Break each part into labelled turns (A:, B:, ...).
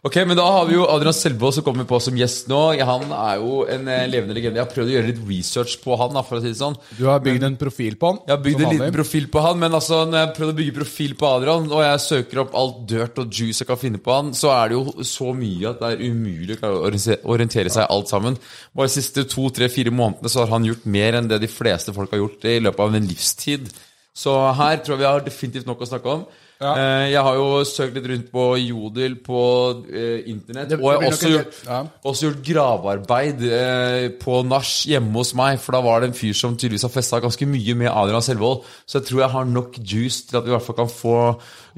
A: Ok, men Da har vi jo Adrian Selvaas som kommer på som gjest nå. Han er jo en eh, levende legende. Jeg har prøvd å gjøre litt research på han. da, for å si det sånn.
B: Du har bygd en profil på han.
A: Jeg har bygd
B: som
A: en liten
B: vanlig.
A: profil på han, men altså, når jeg har prøvd å bygge profil på Adrian, og jeg søker opp alt dirt og juice jeg kan finne på han, så er det jo så mye at det er umulig å klare å orientere- orientere seg i alt sammen. Bare de siste to, tre, fire månedene så har han gjort mer enn det de fleste folk har gjort i løpet av en livstid. Så her tror jeg vi har definitivt nok å snakke om.
B: Ja.
A: Eh, Jeg har jo søkt litt rundt på Jodel, på eh, internett,
B: Det- det
A: og jeg har
B: blir nok
A: også
B: en del-
A: gjort,
B: ja.
A: også gjort gravarbeid eh, på nach hjemme hos meg, for da var det en fyr som tydeligvis har festa ganske mye med Adrian Selvold. Så jeg tror jeg har nok juice til at vi i hvert fall kan få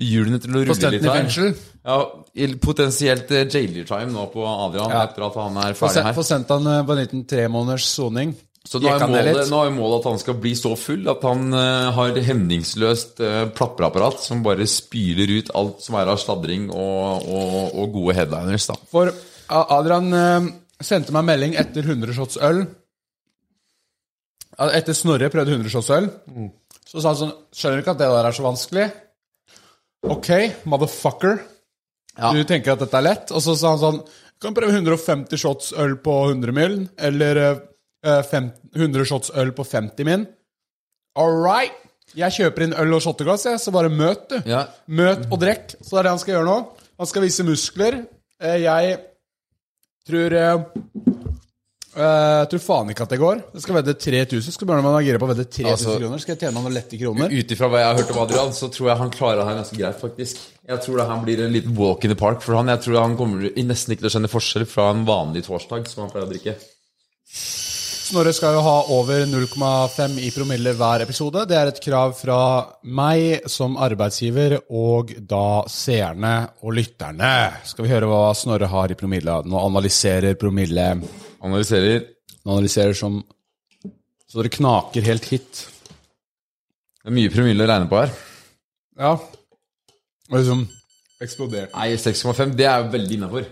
A: hjulene til å rulle
B: Stent
A: litt
B: i
A: her.
B: fengsel.
A: Ja, i- potensielt eh, jailer time nå på Adrian
B: Ja.
A: etter at han er
B: Få
A: ferdig
B: sen-
A: her.
B: Få sendt han eh, på en liten tremåneders soning.
A: Så nå er,
B: Jekka ned
A: målet,
B: litt.
A: nå er målet at han skal bli så full at han eh, har hemningsløst eh, plappeapparat som bare spyler ut alt som er av sladring og, og, og gode headliners. da.
B: For A- Adrian eh, sendte meg melding etter 100 shots øl. Ja, Etter Snorre prøvde 100 shots øl.
A: Mm.
B: Så sa han sånn Skjønner du ikke at det der er så vanskelig? Ok, motherfucker.
A: Ja.
B: Du tenker at dette er lett. Og så sa han sånn Du kan prøve 150 shots øl på 100 mil. Eller eh, fem, 100 shots øl på 50 min. All right. Jeg kjøper inn øl og shotteglass, jeg, så bare møt, du.
A: Ja.
B: Møt og drekk. Så det er det han skal gjøre nå. Han skal vise muskler. Eh, Jeg tror eh, eh, tror faen ikke at det går. Jeg skal vedde 3000. Skal Bjørnar være gira på å vedde 3000
A: Altså-
B: kroner? Skal jeg tjene han noen lette kroner?
A: Ut ifra hva jeg har hørt om Adrian, så tror jeg han klarer det her ganske greit, faktisk. Jeg tror det her blir en liten walk in the park for han. Jeg tror han kommer i- nesten ikke til å kjenne forskjell fra en vanlig torsdag, som han pleier å drikke.
B: Snorre skal jo ha over 0,5 i promille hver episode. Det er et krav fra meg som arbeidsgiver, og da seerne og lytterne. Skal vi høre hva Snorre har i promille? Nå analyserer promille
A: Analyserer.
B: Nå analyserer som Så dere knaker helt hit.
A: Det er mye promille å regne på her.
B: Ja. Og liksom eksplodert.
A: Nei, 6,5, det er jo veldig innafor.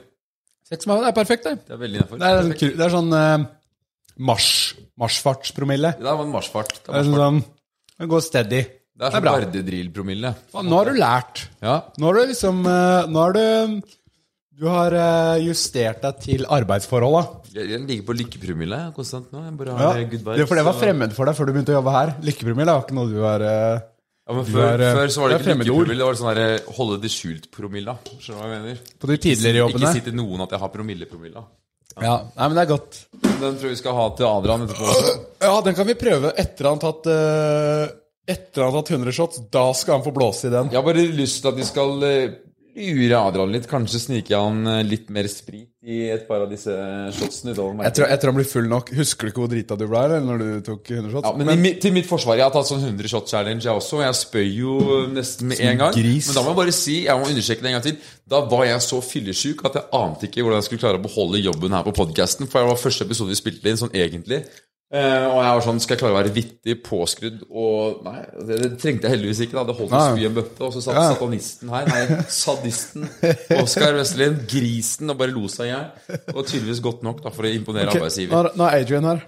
B: Seks måneder er perfekt, det.
A: Det er veldig innafor.
B: Det er, en kru- det er sånn eh, mars, marsfartspromille.
A: Det var en marsfart. Det
B: Det er
A: er,
B: sånn, sånn Det går
A: det
B: steady.
A: er
B: det er
A: sånn
B: bra.
A: Vardedril-promille.
B: Faen, Nå har du lært.
A: Ja.
B: Nå har du liksom eh, Nå har du Du har eh, justert deg til arbeidsforholda.
A: Jeg jeg ligger på lykkepromille konstant nå. Jeg bare
B: Ja.
A: har eh, good
B: Det, for det var
A: vibes, så-
B: fremmed for deg før du begynte å jobbe her. Lykkepromille var ikke noe du var eh,
A: Ja, men
B: Du
A: før,
B: er, eh,
A: før så var det
B: det er
A: ikke
B: fremmedord.
A: lykkepromille, det var sånn her eh, holde det skjult-promilla. Skjønner du hva jeg mener?
B: på de tidligere jobbene.
A: Ikke si til noen at jeg har promille-promilla.
B: Ja, Nei, men det er godt.
A: Den tror jeg vi skal ha til Adrian etterpå også.
B: Ja, den kan vi prøve etter han tatt eh, Etter han tatt 100 shots. Da skal han få blåse i den.
A: Jeg har bare lyst til at vi skal eh, lure Adrian litt. Kanskje snike han eh, litt mer sprit i et par av disse shotsene. utover
B: Jeg
A: merket.
B: tror, jeg tror han blir full nok. Husker du ikke hvor drita du ble eller, når du tok 100 shots?
A: Ja, men i, mi- til mitt forsvar, jeg har tatt sånn 100 shot challenge jeg også. og Jeg spøy jo nesten med en gang.
B: gris.
A: Men da må jeg bare si, jeg må understreke det en gang til, da var jeg så fyllesyk at jeg ante ikke hvordan jeg skulle klare å beholde jobben her på podkasten. For jeg var første episode vi spilte inn sånn egentlig. Eh, og jeg var sånn, skal jeg klare å være vittig, påskrudd og Nei, det, det trengte jeg heldigvis ikke. da Det holdt å
B: Nei.
A: spy en bøtte. Og så satt
B: Ja.
A: satanisten her, nei, sadisten Oskar Vestlin, grisen, og bare lo seg i hjel. Det var tydeligvis godt nok da for å imponere
B: Ok,
A: arbeidsgiver.
B: nå, er- nå er Adrian her.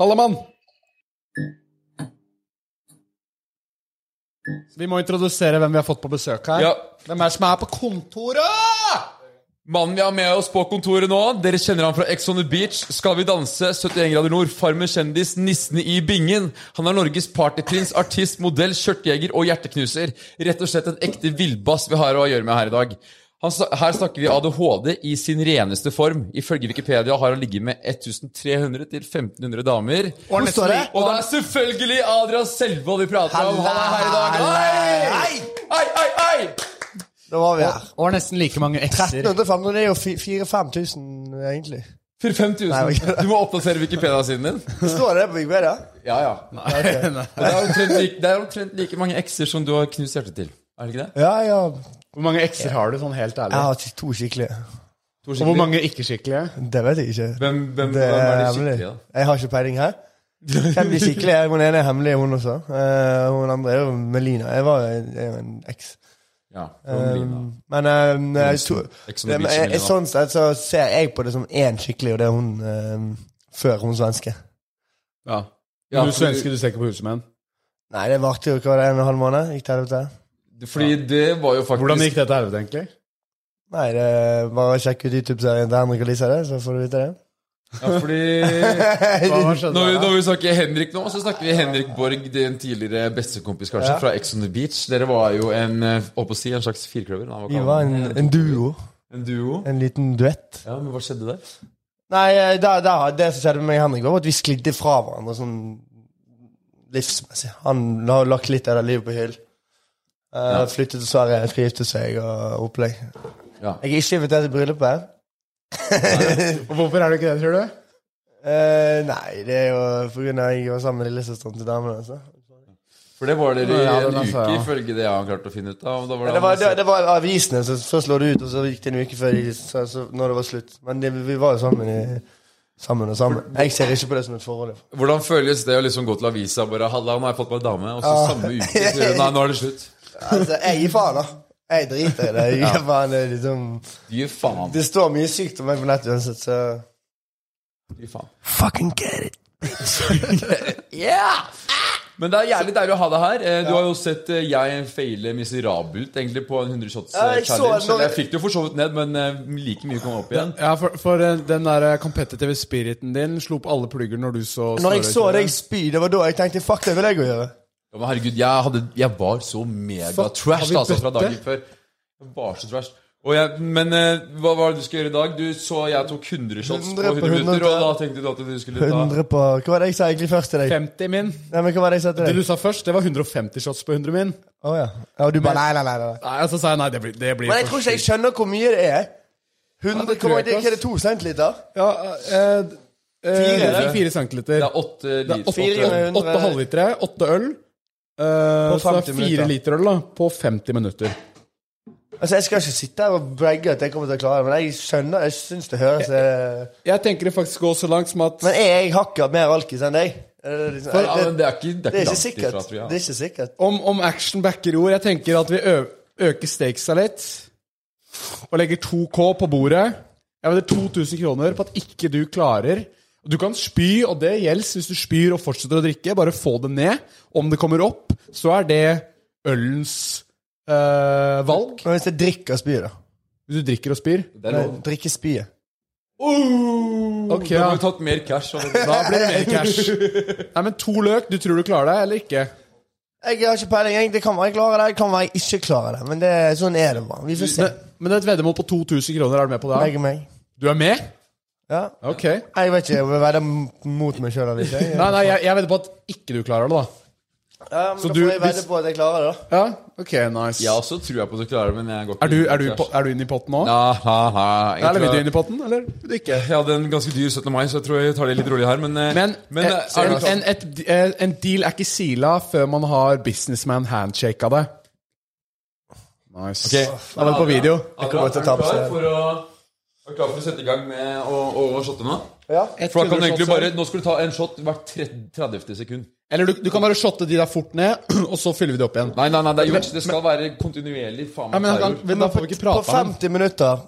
B: Halla, mann! Vi må introdusere hvem vi har fått på besøk her.
A: Ja.
B: Hvem er det som er på kontoret?
A: Mannen vi har med oss på kontoret nå, dere kjenner han fra Ex on the Beach, Skal vi danse, 71 grader nord, Farmen kjendis, Nissene i bingen. Han er Norges partyprins, artist, modell, skjørtjeger og hjerteknuser. Rett og slett en ekte villbass vi har å gjøre med her i dag. Han, sa- her snakker vi ADHD i sin reneste form. Ifølge Wikipedia har han ligget med 1300 til 1500 damer.
C: Hvor står det?
A: Og det er selvfølgelig Adrian Selvold vi prater om. Han er her i dag. Hei! Hei, hei, hei!
C: Da var vi her.
B: Og nesten like mange ekser.
C: 1300-1500 er jo 4000-5000, egentlig.
A: 5000. Du må oppdatere Wikipedia-siden din.
C: Står det på Wikipedia?
A: Ja, ja. Og det er omtrent like, det er omtrent like mange ekser som du har knust hjertet til. Er det ikke det?
C: Ja, ja.
B: Hvor mange ekser har du, sånn helt ærlig?
C: Jeg har ikke to skikkelige.
A: To
B: Og hvor
A: skikkelig.
B: mange ikke-skikkelige?
C: Det vet jeg ikke.
A: Hvem, hvem,
C: Det
A: hvem er de
C: er hemmelig.
A: skikkelige, da?
C: Jeg har ikke peiling her. Hvem de skikkelige er. Hun ene er hemmelig, hun også. Eh, hun andre er jo Melina. Jeg var jeg er jo en eks.
A: Ja, Frognerlina.
C: Men ehm, jeg tror-
A: Ex on the
C: det- men
A: beach,
C: jeg-
A: Lina.
C: jeg- sånn sett så ser jeg på det som én skikkelig, og det er hun ehm, før hun svenske.
B: Ja.
A: Ja,
B: du
A: for-
B: svenske, du ser ikke på Husmenn.
C: Nei, det varte jo hva det er, en og en halv måned. Gikk til helvete.
A: Fordi det var jo faktisk
B: Hvordan gikk det til helvete, egentlig?
C: Nei, det er bare å sjekke ut YouTube-serien til Henrik og Lisa, det, så får du vite det.
A: Ja, fordi
B: Hva
A: Når vi,
B: skjedde?
A: når vi snakker Henrik nå, så snakker vi Henrik Borg, din tidligere bestekompis kanskje,
C: Ja.
A: fra Ex on the Beach. Dere var jo en eh, holdt på å si, en slags firkløver. Nei, hva
C: Vi
A: kaller
C: var
A: man
C: en,
A: det?
C: en duo.
A: en duo.
C: En liten duett.
A: Ja, men hva skjedde der?
C: Nei, eh, der, der, har- det som skjedde med meg og Henrik, var at vi sklidde fra hverandre sånn livsmessig. Han har lagt litt av det livet på hyll. Eh, Flyttet til Sverige, trivte seg og opplegg.
A: Ja.
C: Jeg er ikke invitert til bryllupet.
B: Og Hvorfor er du ikke det, tror du?
C: Eh, nei, det er jo på grunn av at jeg var sammen med lillesøsteren til damen. Altså.
A: For det var dere i
B: Ja,
A: en
B: den er
A: uke,
B: så, ja.
A: ifølge det jeg har klart å finne ut av. og Da var
C: Men
A: det
C: det, var, det,
A: han-
C: det var avisene, så først lå det ut, og så gikk det en uke før de- så, så, når det var slutt. Men det, vi var jo sammen, i, sammen og sammen. Jeg ser ikke på det som et forhold.
A: Hvordan føles det å liksom gå til avisa og bare 'Halla, nå har jeg fått meg dame', og så
B: Ah.
A: samme uke så gjør du, Nei, nå er det slutt.
C: Altså, jeg gir faen, da. Jeg driter i det. Jeg gir faen, det, er liksom,
A: Du gir faen.
C: det står mye sykt om meg på nett uansett, så
A: Du gir faen.
C: Fucking get it.
A: Men det er jævlig deilig å ha deg her. Eh, Du har jo sett eh, jeg faile miserabelt egentlig på en 100 shots
C: Ja,
A: eh,
C: jeg så
A: challenge.
C: den nå.
A: Eller Jeg fikk det jo for så vidt ned, men eh, like mye kom opp igjen.
B: Ja, for, for eh, den der competitive spiriten din slo opp alle plugger når du så
C: Når jeg så
B: Snorre
C: deg spy, det var da jeg tenkte fuck, det vil jeg òg gjøre.
A: Ja, men herregud, jeg, hadde, jeg var så mega
B: Fuck, har
A: trash
B: vi
A: altså, fra
B: bøtte?
A: dagen før. Jeg var så trash. Og jeg, men eh, hva var det du skulle gjøre i dag? Du så jeg tok 100 shots
C: 100
A: på
C: på
A: 100 minutter, og da
C: 100.
A: tenkte du at du skulle ta
C: 100 på Hva var det jeg sa egentlig først til deg?
B: 50 min.
C: Nei, men hva var det jeg sa til
B: Det
C: deg?
B: du sa først, det var 150 shots på 100 min.
C: Å ja. ja. Du bare nei, nei, nei. nei.
B: Nei, og så sa jeg nei, det blir, det blir
C: Men jeg tror ikke jeg skjønner hvor mye det er. 100,
B: det tror
C: hva
B: jeg
C: er det,
B: ikke,
C: hva er det, to centiliter?
B: Ja, eh,
C: Fire,
B: eh,
C: eller?
B: 4 centiliter.
A: Det er 8
B: Det er
A: liter.
C: Fire ganger
B: åtte-
C: 100.
B: åtte halvlitere, åtte øl. Eh,
C: På
B: så det er
C: 50 minutter.
B: fire liter øl da, på 50 minutter.
C: Altså, Jeg skal ikke sitte her og bragge at jeg kommer til å klare det, men jeg skjønner, jeg syns det høres eh,
B: Jeg tenker det faktisk går så langt som at
C: Men er jeg hakket mer alkis enn deg? Er det liksom-
A: Ja,
C: er
A: men det er ikke, det
C: Det
A: er ikke
C: er ikke
A: langt
C: sikkert.
A: ifra, tror jeg.
C: Det er ikke sikkert.
B: om, om action backer ord. Jeg tenker at vi ø øker stakesa litt. Og legger 2K på bordet. Jeg vet det er 2000 kroner på at ikke du klarer Du kan spy, og det gjelder hvis du spyr og fortsetter å drikke. Bare få det ned. Om det kommer opp, så er det ølens eh, valg.
C: Men hvis jeg drikker spy, da?
B: Hvis du drikker og spyr.
A: Det er
C: Nei,
A: lov.
C: Drikker spyet.
B: Ok,
A: Da
B: ja.
A: har vi tatt mer cash. Og det,
B: Da blir det mer cash. Nei, men to løk. Du tror du klarer deg, eller ikke?
C: Jeg har ikke peiling. jeg. Det kan være jeg klarer det, det kan være jeg ikke klarer det. Men det, sånn er det bare. Vi får se.
B: Men, men det er et veddemål på 2000 kroner. Er du med på det?
C: Legger meg.
B: Du er med?
C: Ja.
B: Ok.
C: Jeg vet ikke om jeg vedder mot meg sjøl eller ikke. Jeg-
B: Nei, nei, jeg, jeg vedder på at ikke du klarer det, da.
C: Ja, men
B: Så
C: da
B: du-
C: får jeg vedde
B: hvis-
C: på at jeg klarer det, da.
B: Ja, ok, nice.
A: jeg også tror jeg på at du klarer det, men jeg går ikke
B: Er, du, er, du,
A: cash.
B: på- er du inne i potten nå?
A: Ja, ha, ha. Jeg
B: eller vil
A: tror
B: du
A: jeg-
B: inn i potten, eller vil du ikke?
A: Jeg hadde en ganske dyr 17. mai, så jeg tror jeg tar det litt rolig her. Men, eh,
B: Men,
A: men,
B: eh,
A: eh, er du
B: en,
A: klar?
B: en, et, eh, en deal er ikke sila før man har businessman handshake av det. Nice.
A: Ok.
B: Da var det på video.
C: kommer til å
A: Adrian,
C: tape
A: Er
C: seg.
A: du klar for å, er du klar for å sette i gang med å, å, å shotte nå?
C: Ja.
A: For da kan du egentlig bare, Nå skal du ta en shot hvert 30. 30. sekund.
B: Eller du, du kan bare shotte de der fort ned, og så fyller vi de opp igjen.
A: Nei, nei, nei, det er gjort. Det skal være kontinuerlig. faen
B: Ja, men
A: meg
B: han kan,
A: terror.
B: men da får vi ikke prate
C: På
B: om det.
C: 50 minutter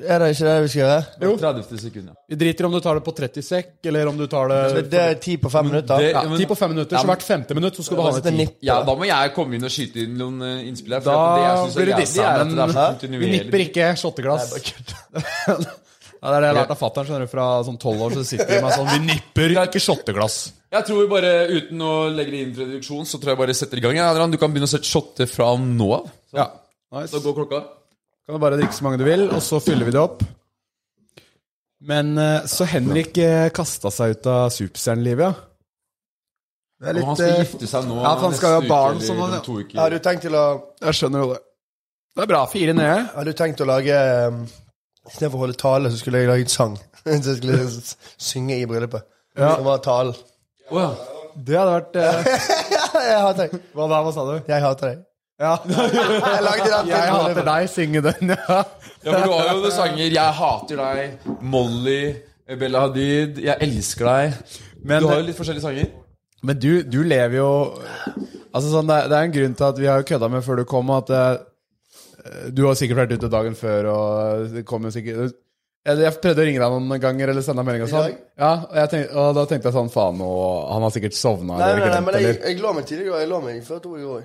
C: er det ikke det vi skal gjøre?
B: Jo.
A: 30. sekund, ja.
B: Vi driter om du tar det på 30 sek, eller om du tar
C: Det,
B: det
C: det er ti på fem minutter.
A: det-
B: ja,
A: men-
B: 10 på 5 minutter,
A: Ja,
B: så
A: men-
B: hvert femte minutt så skal du ha
C: Det
B: ned 10.
C: er nipp.
A: ja, Da må jeg komme inn og skyte inn noen eh, innspill her. For
B: Da
A: det jeg synes
B: blir
A: er
B: det
A: jævlig,
B: dissa,
A: er at det er så
B: men vi nipper
A: kontinuerlig.
B: ikke shotteglass. Ja, det er det jeg har lært av fatter'n. skjønner du, Fra sånn tolv år så sitter de med sånn Vi nipper ikke shotteglass.
A: Jeg tror vi bare, uten å legge det inn til reduksjon, så tror jeg bare setter i gang. Ja, Adrian, du kan begynne å sette shotte fra nå av. Så,
B: Ja, nice.
A: så går klokka.
B: Kan du bare drikke så mange du vil, og så fyller vi det opp. Men eh, så Henrik eh, kasta seg ut av superstjernelivet, ja. Det er eh,
A: Om han skal gifte seg nå
B: Ja, for han skal jo ha
A: neste uke
B: barn,
A: eller
B: så han-
A: om to uker.
C: Har du tenkt til å,
B: Jeg skjønner jo det. Det er bra. Fire nede.
C: har du tenkt å lage um, Istedenfor å holde tale, så skulle jeg lage en sang. så jeg skulle s- synge i bryllupet.
B: Ja.
C: Som var talen.
A: Å, ja.
B: Det hadde vært eh,
C: Jeg hater deg.
B: Hva da? Hva sa du?
C: Jeg hater deg.
B: Ja.
C: Jeg lagde den til
B: Jeg hater
C: bryllupet.
B: deg, synge den, ja.
A: Ja, for du har jo noen sanger 'Jeg hater deg', 'Molly', Bella Hadid, 'Jeg elsker deg'.
B: Men-
A: du har jo litt forskjellige sanger.
B: Men du, du lever jo Altså sånn, det, er, det er en grunn til at vi har jo kødda med før du kom, at eh, Du har sikkert vært ute dagen før og det kommer sikkert Eller Jeg prøvde å ringe deg noen ganger eller sende deg melding. Og
C: I
B: sånn.
C: dag?
B: Ja, og, jeg tenkte, og da tenkte jeg sånn Faen, nå, han har sikkert sovna eller
C: Nei, nei, nei,
B: glemt
C: men jeg,
B: eller
C: jeg lå meg tidligere. Jeg lå meg før to i går.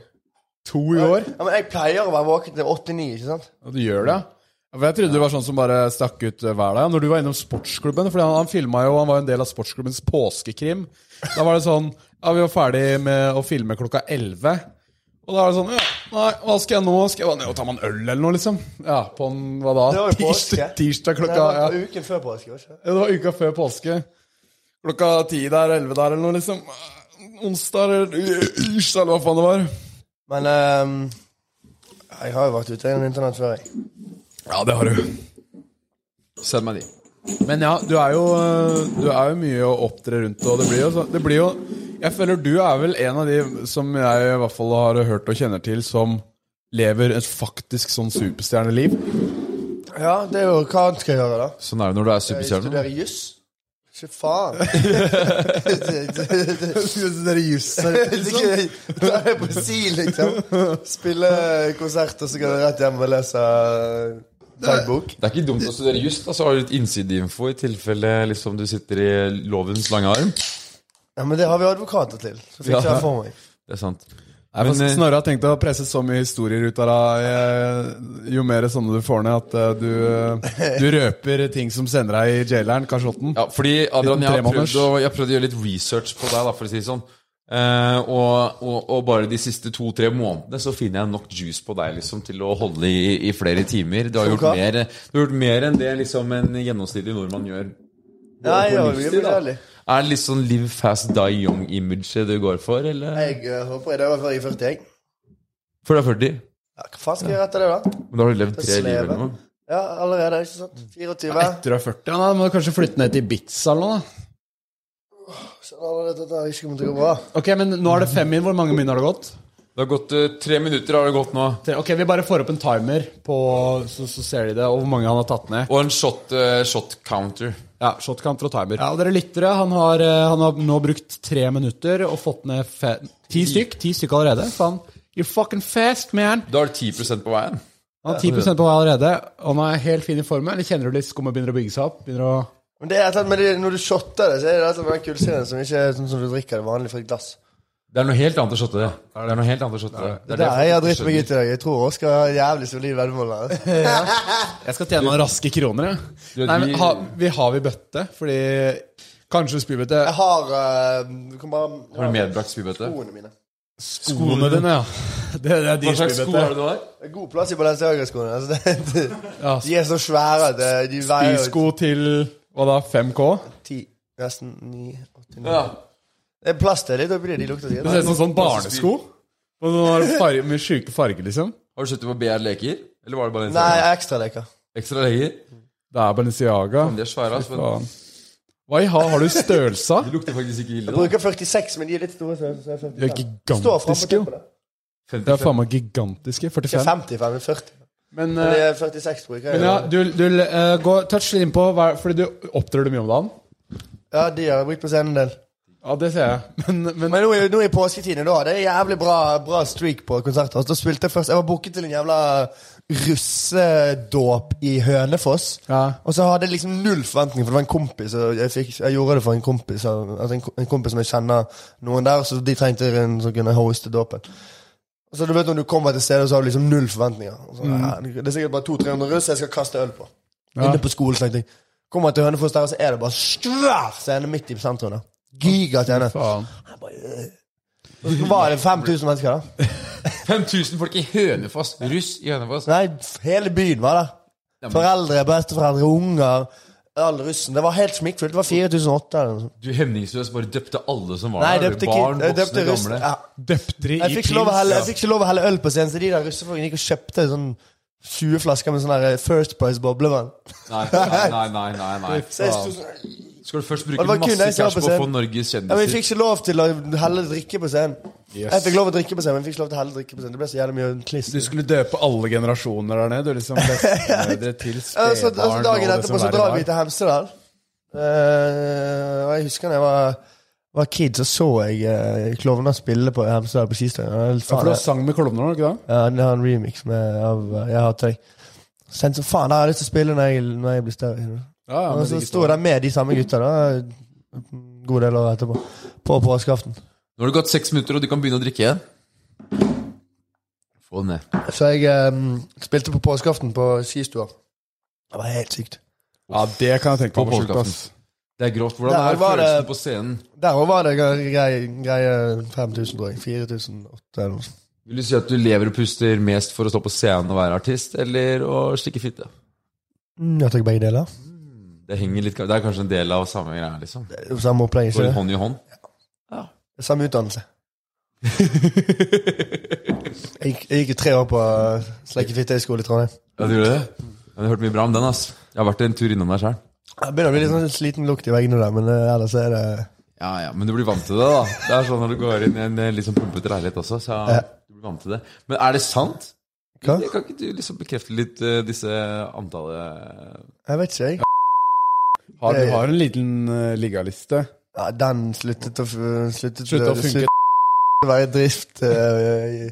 B: To i år?
C: Ja, men jeg pleier å være våken til åtte-ni, ikke sant?
B: Og du gjør det? Ja, For Jeg trodde du var sånn som bare stakk ut eh, hver dag. Når du var innom sportsklubben Fordi han, han filma jo, han var jo en del av sportsklubbens påskekrim. Da var det sånn Ja, vi var ferdig med å filme klokka 11. Og da er det sånn Ja, nei, hva skal jeg nå? Skal jeg bare ned og ta meg en øl, eller noe, liksom? Ja, på en Hva da?
C: Det var jo
B: Tirsdag,
C: påske.
B: tirsdag
C: Nei,
B: klokka
C: det var
B: ja.
C: på uken før påske. var det ikke?
B: ja, Det var uka før påske. Klokka ti der, elleve der, eller noe, liksom. Onsdag eller Ish, eller hva faen det var.
C: Men ehm, jeg har jo vært ute gjennom internett før, jeg.
B: Ja, det har du.
A: Send meg de.
B: Men ja, du er jo, du er jo mye å opptre rundt, og det blir, jo, så- det blir jo Jeg føler du er vel en av de som jeg i hvert fall har hørt og kjenner til, som lever et faktisk sånn superstjerneliv.
C: Ja, det er jo Hva annet skal jeg gjøre, da?
A: Sånn er det når du er
C: Jeg
A: superstjerne.
C: Eh, studerer juss. Ikke faen.
A: sånn?
C: Da er jeg på si, liksom. Spille konsert, og så går jeg rett hjem og leser eh, dagbok.
A: Det er ikke dumt å studere juss, da, så har du litt innsideinfo i tilfelle liksom, du sitter i lovens lange arm.
C: Ja, men det har vi advokater til. Så fikk
A: Ja.
C: jeg det for meg.
A: Det er sant.
B: Nei, fast
A: Men, eh,
B: altså, Snorre har tenkt å presse så mye historier ut av deg, eh, jo mer sånne du får ned, at eh, du, du røper ting som sender deg i jaileren, kasjotten.
A: Ja, fordi Adrian,
B: Liten
A: jeg har,
B: tremåneders.
A: prøvd å, jeg har prøvd å gjøre litt research på deg, da, for å si det sånn. Eh, og, og, og bare de siste to-tre månedene så finner jeg nok juice på deg liksom til å holde i, i flere timer. Du har,
C: Som
A: gjort
C: hva?
A: mer, du har gjort mer enn det liksom en gjennomsnittlig nordmann gjør.
C: Nei,
A: på
C: jeg var
A: livsstil,
C: veldig
A: da.
C: ærlig.
A: Er det litt sånn live fast, die young-imaget du går for, eller?
C: Jeg eh, håper jeg dør før jeg er 40, jeg.
A: For du er 40,
C: Ja, hva faen skal jeg gjøre etter det, da?
A: men da har du levd
C: Det
A: tre liv
C: slever.
A: eller noe.
C: Ja, allerede, ikke sant? 24.
B: Etter du er 40, ja, da må du kanskje flytte ned til Ibiza eller noe. da.
C: Skjønner allerede at dette ikke kommer til å gå bra.
B: Ok, men nå er det fem min. Hvor mange min har det gått?
A: Det har gått eh, tre minutter har det gått nå.
B: Tre- Ok, vi bare får opp en timer, på, så, så ser de det, og hvor mange han har tatt ned.
A: Og en shot, eh, shot counter.
B: Ja, shotcount og timer. Ja, og dere lyttere, han har, eh, han har nå brukt tre minutter og fått ned fe ti stykk. Ti stykk allerede. Faen. You're fucking fast, man!
A: Da er det 10 på veien.
B: Han har 10 på vei allerede. Og han er helt fin i formen. Eller kjenner du litt skummet begynner å bygge seg opp? Begynner å...
C: Men det er et eller annet med det, når du shotter det, så er det et eller annet med den kullsyren som ikke er sånn som du drikker det vanlig fra et glass.
A: Det er noe helt annet å shotte det. Det er noe helt annet å shotte det. Det er
C: Det er der jeg har
A: faktisk
C: dritt meg ut i dag. Jeg tror Oskar har jævlig solid veddemål. her. altså.
B: Jeg skal tjene noen raske kroner, jeg.
A: Du,
B: Nei, men
A: vi-
B: ha, vi har vi bøtte, fordi Kanskje spybøtte.
C: Jeg har eh, Du kan bare
A: Har du medbrakt spybøtte?
C: Skoene mine.
B: Skoene dine, ja. Det, det er
A: Hva
B: dyr
A: slags sko
B: spybøtte.
A: er det du har?
C: Det er god plass i Balenciaga-skoene. Altså, det,
B: Ja,
C: de er så svære at eh, de veier jo
B: Spysko til hva da, 5K?
C: ti Nesten ni åtti, ni.
A: Ja.
C: Det er plass til litt oppi det. De lukter
B: Det ser
C: sikkert.
B: ut som sånn barnesko. Og sånn har farge, med sjuke farger, liksom.
A: Har du sett på BR Leker? Eller var det bare en sånn
C: Nei, ekstraleker.
A: ekstra leker?
B: Det er Balenciaga.
A: De er svære, altså. Men
B: Faen. Hva i ha, har du størrelse?
A: de lukter faktisk ikke ille.
C: Jeg bruker 46, men de er litt store. Så så er
B: De er
C: 45. Står frem på
B: gigantiske, jo.
C: toppen, da.
B: De er
A: 55.
B: faen meg gigantiske.
C: Ikke
B: 45.
C: 55, men 40.
B: Men,
C: Men
B: eh,
C: de er 46, bruker jeg.
B: men ja, du, du eh, går touch litt innpå, hva- fordi du opptrer du mye om dagen.
C: Ja, de har jeg brukt på scenen en del.
B: Ja, det ser jeg. Men, men
C: Men nå, er- nå i påsketiden, da. Det er jævlig bra, bra streak på konserter. Altså, da spilte jeg først Jeg var booket til en jævla russedåp i Hønefoss.
B: ja.
C: Og så hadde jeg liksom null forventning, for det var en kompis. Og jeg, fikk, jeg gjorde det for en kompis og- altså en, ko- en kompis som jeg kjenner noen der, så de trengte en som kunne hoste dåpen. Og så du vet Når du kommer til stedet, så har du liksom null forventninger. Og Så,
B: Mm.
C: ja, det er sikkert bare 200-300 russ jeg skal kaste øl på. Inne på skolen, tenkte jeg. Kommer til Hønefoss der, og så er det bare svær scene midt i sentrum. der. Gigascene.
B: Faen.
C: Og så var det 5000 mennesker, da.
A: 5000 folk i Hønefoss! Russ i Hønefoss.
C: Nei, f- hele byen var der. Foreldre, besteforeldre, unger. All russen. Det var helt smikkfullt. Det var 4800 eller noe sånt.
A: Du hemningsløst bare døpte alle som var
C: Nei, jeg
A: der.
C: døpte
A: Barn,
C: kid, jeg døpte
A: voksne,
C: russ.
A: gamle.
C: Ja.
B: Døpte de
C: Jeg
B: i
C: fikk, ikke lov å helle, jeg
B: pils?
C: fikk ikke lov å helle øl på scenen, så de der russefolkene gikk og kjøpte sånn 20 flasker med sånn der First Price boblevann.
A: Nei, nei, nei, nei, nei, nei.
C: Så jeg sto sånn-
A: Skal du først
C: Og
A: bruke
C: det var kun
A: masse
C: jeg som var
A: cash på
C: på
A: å få
C: scenen.
A: Norges
C: Ja, men jeg
A: kjendiser?
C: fikk ikke lov til å helle drikke på scenen. Jeg fikk lov å drikke på scenen, men jeg fikk ikke lov til å helle drikke på scenen. Det ble så jævlig mye kliss.
B: Du skulle døpe alle generasjoner der nede. Du liksom Bestemødre til
C: Ja, så,
B: spedbarn.
C: altså,
B: og
C: dagen
B: det
C: etterpå
B: som
C: så
B: verre
C: drar
B: var.
C: vi til Hemsedal. Eh, og jeg husker da jeg var var kid, så så jeg eh, klovner spille på Hemsedal på Skistøyen. Ja,
B: Ja, for
C: faen,
B: du
C: jeg-
B: har sang med klovner nå, ikke det?
C: ja, det har en remix med, av eh, Jeg hater deg. Så tenkte jeg så faen, det har jeg lyst til å spille når jeg, når jeg blir større.
B: Ja, ja,
C: og
B: men
C: så
B: det
C: sto jeg der med de samme gutta da, en god del år etterpå. På påskeaften.
A: Nå har det gått seks minutter, og du kan begynne å drikke igjen. Få den ned.
C: Så jeg eh, spilte på påskeaften på skistua. Det var helt sykt.
B: ja, det kan jeg tenke
A: På
B: på. på skjorta,
A: påskeaften.
B: ass.
A: Det er grovt. Hvordan
C: Der
A: er
C: var det-
A: følelsen på scenen?
C: Der òg var det gre- greie, greie 5000, tror jeg. 4800 eller noe sånt.
A: Vil du si at du lever og puster mest for å stå på scenen og være artist, eller å stikke fitte?
C: Mm, Jeg tar begge deler.
A: Det henger litt Det er kanskje en del av samme greia, liksom.
C: Det er jo Samme opplegg.
A: Går
C: ikke
A: litt
C: det?
A: hånd i hånd.
C: Det er Samme utdannelse. jeg, gikk, jeg gikk jo tre år på uh, Sleike Fittøy-skole i Trondheim.
A: Ja, du gjør det? Jeg har hørt mye bra om den, ass. Jeg har vært en tur innom der sjøl.
C: Jeg begynner å bli litt sånn sliten lukt i veggene der, men eh, ellers er det
A: Ja, ja, men du blir vant til det, da. Det er sånn når du går inn i en eh, litt sånn pumpete leilighet også, så du blir vant til det. Men er det sant?
C: Hva?
A: Jeg kan ikke du liksom bekrefte litt eh, disse antallet
C: Jeg vet ikke, jeg.
B: Har, du har en liten eh, liggaliste.
C: Ja, den sluttet å, f- sluttet,
B: Slutta å
C: det
B: funke.
C: sluttet å være i drift eh, i-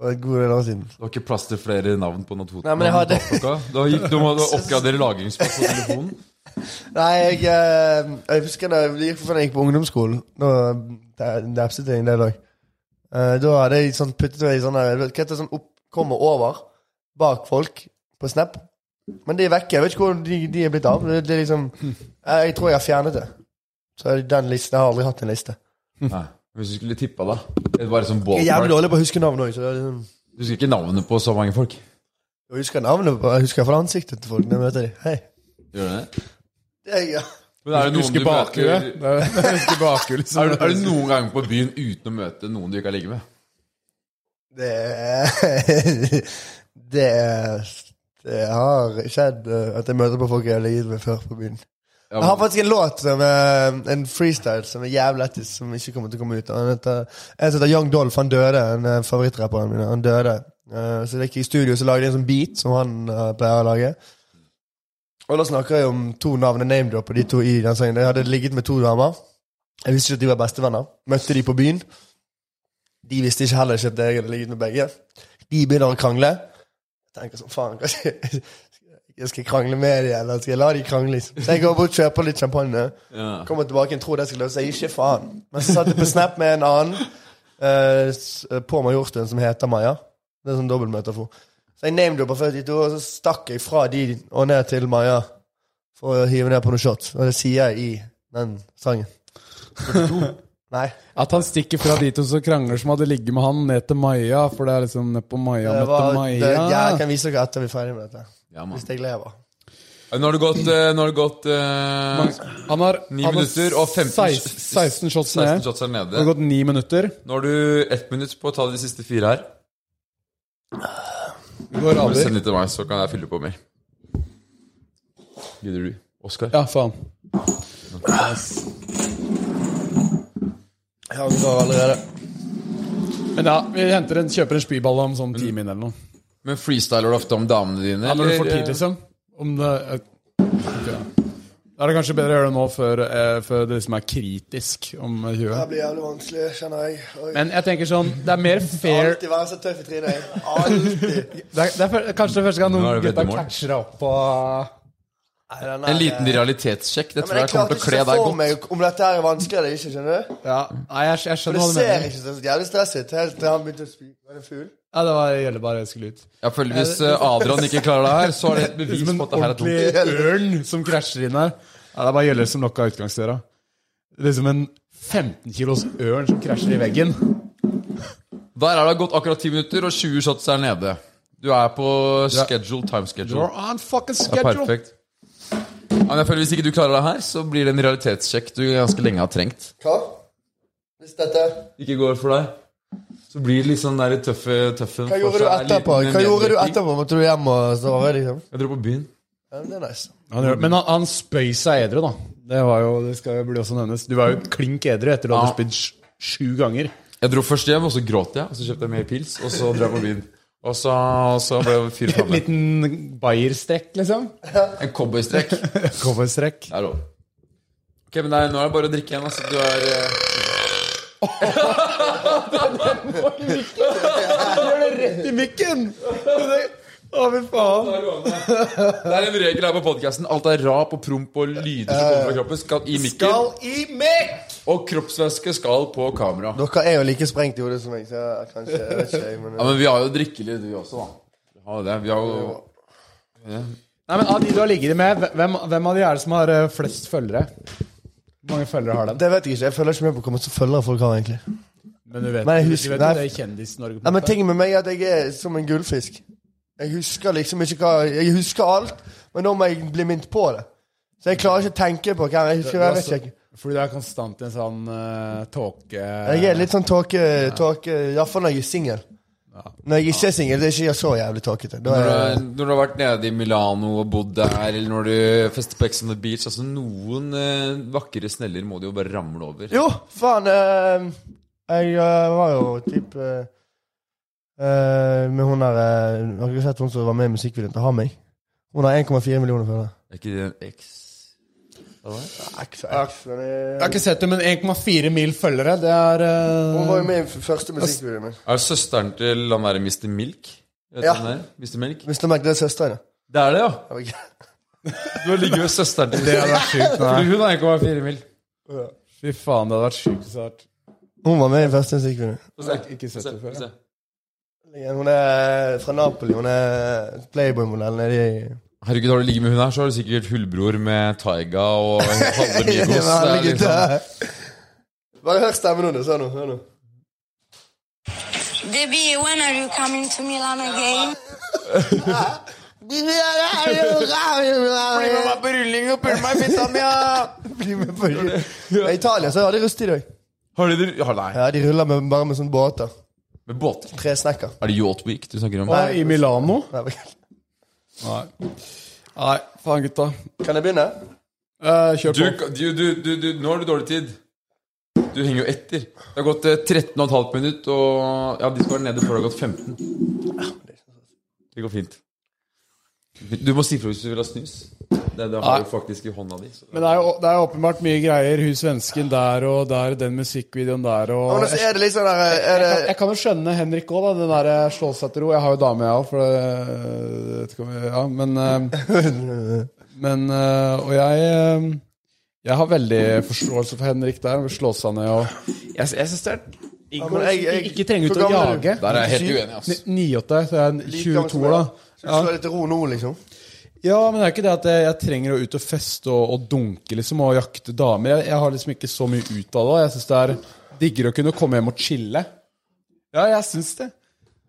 C: for en god del år siden.
A: Det var ikke plass til flere navn på notat-
C: Nei, men jeg hadde-
A: notatblokka. Da gikk- Du må du oppgradere lagringsplass på telefonen.
C: Nei, jeg, eh, jeg husker da jeg gikk, for faen, jeg gikk på ungdomsskolen. Da da- dapset jeg en del òg. Da hadde jeg sånn puttet meg i sånn der, vet du Hva heter det sånn opp, kommer over bak folk på Snap? Men de er vekke. Jeg vet ikke hvor de, de er blitt av. Det, det er liksom, jeg, jeg tror jeg har fjernet det. Så den listen, Jeg har aldri hatt en liste.
A: Nei. Hvis du skulle tippa, da? Det er bare sånn
C: Jeg er jævlig
A: ballpark.
C: dårlig på å huske navn òg. Liksom,
A: Du husker ikke navnet på så mange folk?
C: jeg husker navnet på Jeg husker iallfall ansiktet til folk når jeg møter dem. Hei.
A: Gjør du det?
C: Det er jeg.
A: Men er det noen
B: Husker
A: du møter
B: bakhuet. Det er- Husker bakhuet, liksom.
A: er, du- er du noen gang på byen uten å møte noen du ikke har ligget med?
C: Det Det, det har skjedd eh, at jeg møter på folk jeg har ligget med før på byen.
A: Ja,
C: Jeg har
A: men,
C: faktisk en låt, som eh, en freestyle, som er jævlig lættis, som ikke kommer til å komme ut. Han heter, en som heter Young Dolph. Han døde, en eh, favorittrapperen min. Han døde. Eh, så jeg gikk i studio så lagde jeg en sånn beat som han eh, pleier å lage. Og da snakker jeg om to navn. Jeg name-dropper de to i den sangen. Jeg hadde ligget med to damer. Jeg visste ikke at de var bestevenner. Møtte de på byen. De visste ikke heller ikke at jeg hadde ligget med begge. De begynner å krangle. Jeg tenker sånn, faen, hva skjer? Jeg skal krangle med dem, eller skal jeg la dem krangle? liksom? Så jeg går bort og kjøper litt champagne.
A: ja.
C: Kommer tilbake og tror det skal løse seg. Ikke faen. Men så satt jeg på Snap med en annen eh, s- på Majorstuen som heter Maja. Det er sånn dobbeltmetafor. Så jeg name-droppa først de to, og så stakk jeg fra de og ned til Maja for å hive ned på noen shots. Og det sier jeg i den sangen. Nei.
B: At han stikker fra de to som krangler som hadde ligget med han, ned til Maja. For det er liksom ned på Maja,
C: Det
B: møtte
C: var, det,
B: Maja.
C: jeg kan vise dere etter vi er ferdig med dette.
A: ja, man.
C: Hvis jeg lever.
A: Nå har det gått, eh, nå har det gått eh,
B: Han har,
A: Ni
B: han har
A: minutter og 15
B: 16, 16 shots
A: 16
B: ned.
A: shots er
B: Det har
A: nede.
B: gått ni minutter.
A: Nå har du ett minutt på å ta de siste fire her.
B: Det går
A: Bare
B: aldri.
A: send det til meg, så kan jeg fylle på mer. Gidder du? Oskar?
B: Ja, faen.
C: Jeg angrer allerede.
B: Men ja, vi henter en, kjøper en spyballe om sånn ti min eller noe.
A: Men freestyler du ofte om damene dine?
B: Ja, når du får
A: eller, eh,
B: tid, liksom. Om det er, Da er det kanskje bedre å gjøre det nå, før, eh, før det liksom er kritisk om
C: Det
B: huet.
C: blir jævlig vanskelig, kjenner jeg. Oi.
B: Men jeg tenker sånn, det er mer fair
C: Alltid være så tøff i trynet. jeg. Alltid.
B: Det er, det er fyr- kanskje det første gang
A: Nå
B: noen
A: er det
B: gutta
A: veddemål.
B: catcher opp på
C: Nei, den
A: eh,
C: er-
A: En liten realitetssjekk. Det
C: Ja, men
A: tror jeg kommer til å kle
C: klarte ikke å
A: deg
C: se for
A: godt.
C: meg om dette her er vanskelig eller ikke, skjønner du?
B: ja, Nei, jeg, jeg
C: For
B: skjønner
C: det
B: hva du
C: ser
B: mener.
C: ikke så jævlig stress ut helt til han begynte å spy. Var det fugl?
B: Ja, det var gjelder bare jeg skulle ut.
A: Jeg føler Hvis eh, Adrian ikke klarer det her, så er det et bevis
B: Som en
A: på at det her er tungt.
B: ordentlig ørn som krasjer inn her. Ja, det er bare Gjølle som lokka utgangsdøra. Det er som en 15 kilos ørn som krasjer i veggen.
A: Der er det gått akkurat 10 minutter, og 20 shots er nede. Du er på schedule, time schedule.
B: You're on fucking
A: Det er
B: schedule!
A: perfekt. Ja, men jeg føler Hvis ikke du klarer det her, så blir det en realitetssjekk du ganske lenge har trengt.
C: Hva? Hvis dette
A: Ikke går for deg, så blir det litt sånn der tøffe tøffen
C: Hva gjorde du etterpå? Hva gjorde du etterpå? Måtte du hjem og sove, liksom?
A: Jeg dro på byen.
C: Ja, men det er nice.
B: Han gjør- Men han, han spøy seg edru, da. Det var jo, det skal jo bli også nevnes. Du var jo klink edru etter at du hadde
A: Ja.
B: spydd sj- sju ganger.
A: Jeg dro først hjem, og så gråt jeg, og så kjøpte jeg mer pils, og så dro jeg på byen. Og så, og så ble jeg fyrt
B: En
A: framme.
B: liten bayerstrekk, liksom.
A: En cowboystrekk. Det
B: Cowboystrekk.
A: er lov. Ok, men nei, nå er det bare å drikke igjen. Altså. Du er eh,
C: Å, fy faen.
A: Det er en regel her på podkasten. Alt er rap og promp og lyder som kommer fra kroppen, skal i mikken.
C: Skal i mikk!
A: Og kroppsvæske skal på kamera.
C: Dere er jo like sprengt i hodet som meg, så jeg- kanskje jeg vet ikke, jeg, men
A: Ja, Men vi har jo drikkelyder, vi også, da. Vi har jo det. Vi har jo
B: Nei, men Av de du har ligget med, hvem, hvem av de er det som har eh, flest følgere? Hvor mange følgere har den?
C: Det vet jeg ikke. Jeg følger ikke med på hvor mange følgere folk har, egentlig.
B: Men du vet,
C: Nei, jeg
B: du
C: husker-
B: vet
C: nei.
B: jo det er Kjendis-Norge. på
C: Nei,
B: en
C: men
B: måte.
C: Tingen med meg er at jeg er som en gullfisk. Jeg husker liksom ikke hva Jeg husker alt, men nå må jeg bli minnet på det. Så jeg klarer ikke å tenke på hvem jeg
B: Du-
C: husker.
B: du
C: Jeg
B: er
C: vet
B: så-
C: ikke.
B: altså, Fordi du er konstant i en sånn eh, tåke...
C: Jeg er litt sånn tåke, tåke Iallfall når jeg er singel. Når jeg ikke er singel, er ikke jeg så jævlig tåkete. Da
A: Når
C: er
A: du, når du har vært nede i Milano og bodd der, eller når du fester på Ex on the Beach Altså, noen eh, vakre sneller må det jo bare ramle over.
C: Jo, faen eh, Jeg eh, var jo typ eh, eh, Med hun der eh, Har dere sett hun som var med i musikkvideoen til Hamig? Hun har 1,4 millioner følgere.
A: Er ikke det en X?
C: X, X, men
B: Jeg har ikke sett det, men 1,4 mil følgere, det er eh,
C: Hun var jo med i første musikkvideoen min.
A: Er det søsteren til han derre Mr. Milk? Vet du
C: Ja.
A: hvem det er? Mr. Milk?
C: Mr. Mac, det er søsteren, ja.
A: Det er det, ja!
C: Jeg vet ikke.
A: Du har ligget med søsteren til
B: Det hadde vært sjukt. Nei.
A: Hun har 1,4 mil.
B: Fy faen, det hadde vært sjukt altså. hvis det hadde vært-
C: Hun var med i første musikkvideo.
A: Få se.
B: Ikke sett det før.
A: Få
B: ja.
A: se.
C: Hun er fra Napoli. Hun er Playboy-modell nede i
A: Herregud, har du ligget med hun her, så har du sikkert hullbror med Taiga og halve Migos.
C: Ja,
B: sånn
A: Det er
C: herregud,
A: liksom-
C: det er- Bare hør stemmen hennes. Hør nå. Hør nå.
D: Debbie, when are you coming to Milan again?
C: Bli med på rulling og pull meg i fitta mi, ja! Bli med på rulling. I Italia så har de rusttid òg.
A: Har de har, Nei,
C: Ja, de ruller med, bare med sånne båter.
A: med båter.
C: Tre snekker.
A: Er det Yacht Week du snakker om?
B: Nei, I Milano?
C: Nei, vel.
B: Nei. Nei, faen, gutta.
C: Kan jeg begynne?
B: Eh, kjør
A: Du,
B: på.
A: du, du, du, du, nå har du dårlig tid. Du henger jo etter. Det har gått eh, 13 og et halvt minutt, og ja, de skal være nede før det har gått 15.
B: sånn.
A: Det går fint. Du må si fra hvis du vil ha snus. Det, det har du faktisk i hånda di. så-
B: Men det er, jo, det er jo åpenbart mye greier. Hun svensken der og der, den musikkvideoen der og
C: Men så er det liksom der er
A: Eh,
C: det,
B: Jeg kan jo skjønne Henrik òg, da. Den derre slå seg til ro. Jeg har jo dame, jeg òg, for det vet ikke om jeg- Ja, men eh, Men eh, Og jeg eh, Jeg har veldig forståelse for Henrik der. å Slå seg ned og Jeg, jeg syns det er
C: Ja, men jeg- jeg-
B: Ikke trenger ut
C: Hvor
B: å
C: gammel er du?
B: jage.
A: Der er jeg helt uenig, ass.
B: 98, så jeg er
C: Like
B: 22
C: gammel
B: da.
C: som jeg. Skal du slå deg til ro nå, liksom?
B: Ja, men det er ikke det at jeg, jeg trenger å ut og feste og, og dunke liksom, og jakte damer. Jeg, jeg har liksom ikke så mye ut av det. og Jeg syns det er diggere å kunne komme hjem og chille. Ja, jeg syns det.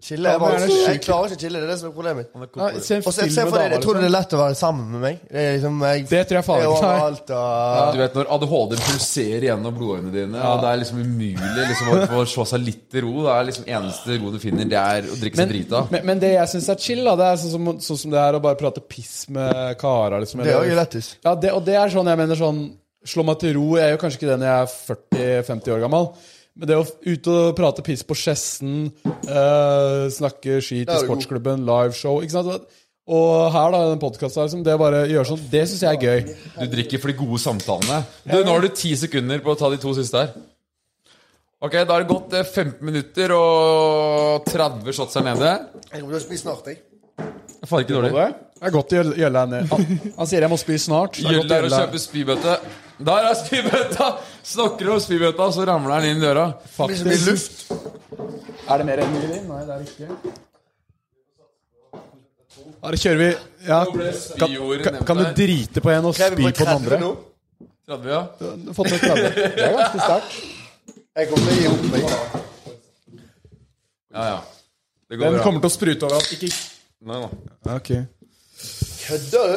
C: Chille er
B: men er det
C: vanskelig. Jeg
B: syk-
C: klarer ikke å chille. Det er det som er problemet mitt.
B: Ja, se en
C: Og så-
B: film
C: se
B: med
C: for deg,
B: damer,
C: jeg tror
B: liksom.
C: det er lett å være sammen med meg. Det, er liksom, jeg,
B: Det tror jeg faen
C: er
B: ikke, nei.
C: overalt, og
A: Du vet når ADHD pulserer gjennom blodårene dine, og det er liksom umulig liksom, å få slå seg litt til ro. Det er liksom eneste ro du finner, det er å drikke seg drita.
B: men, men det jeg syns er chill, da, det er sånn som, sånn som det er å bare prate piss med karer. Liksom,
C: Det er jo
B: eller-
C: lættis.
B: Ja, det, og det er sånn jeg mener sånn Slå meg til ro. Jeg gjør kanskje ikke det når jeg er 40-50 år gammel. Men det å f- ut og prate piss på Skjessen, eh, snakke skit i
C: er jo god.
B: sportsklubben, liveshow ikke sant? Og her, da, i den podkasten her, liksom, det å bare gjøre sånn, det syns jeg er gøy.
A: Du drikker for de gode samtalene. Du, nå har du ti sekunder på å ta de to siste her. Ok, da har det gått eh, 15 minutter og 30 shots her nede.
C: Jeg kommer til å spise snart, jeg.
A: Det er Faen ikke
B: Det
A: dårlig.
B: er godt å gjølle- gjølle her ned. Han, han sier jeg må spy snart. så det er godt å
A: Gjølle er å
B: gjølle-
A: kjøpe spybøtte. Der er spybøtta! Snakker du om spybøtta, så ramler den inn døra.
C: Det blir så mye luft.
B: Er det mer enn mye vin? Nei, det er det ikke. Ja, da kjører vi. Ja.
A: Nå ble spyordet
B: Kan,
A: nevnt
B: kan du
A: her.
B: drite på en og
C: Jeg
B: spy på den andre?
A: 30, ja.
B: Fått med 30. Det er ganske sterkt.
C: Jeg kommer til å gi opp meg.
A: ja, ja. Det går
B: Den
A: bra.
B: kommer til å sprute over at ikke
A: Nei, nei.
C: Kødder du?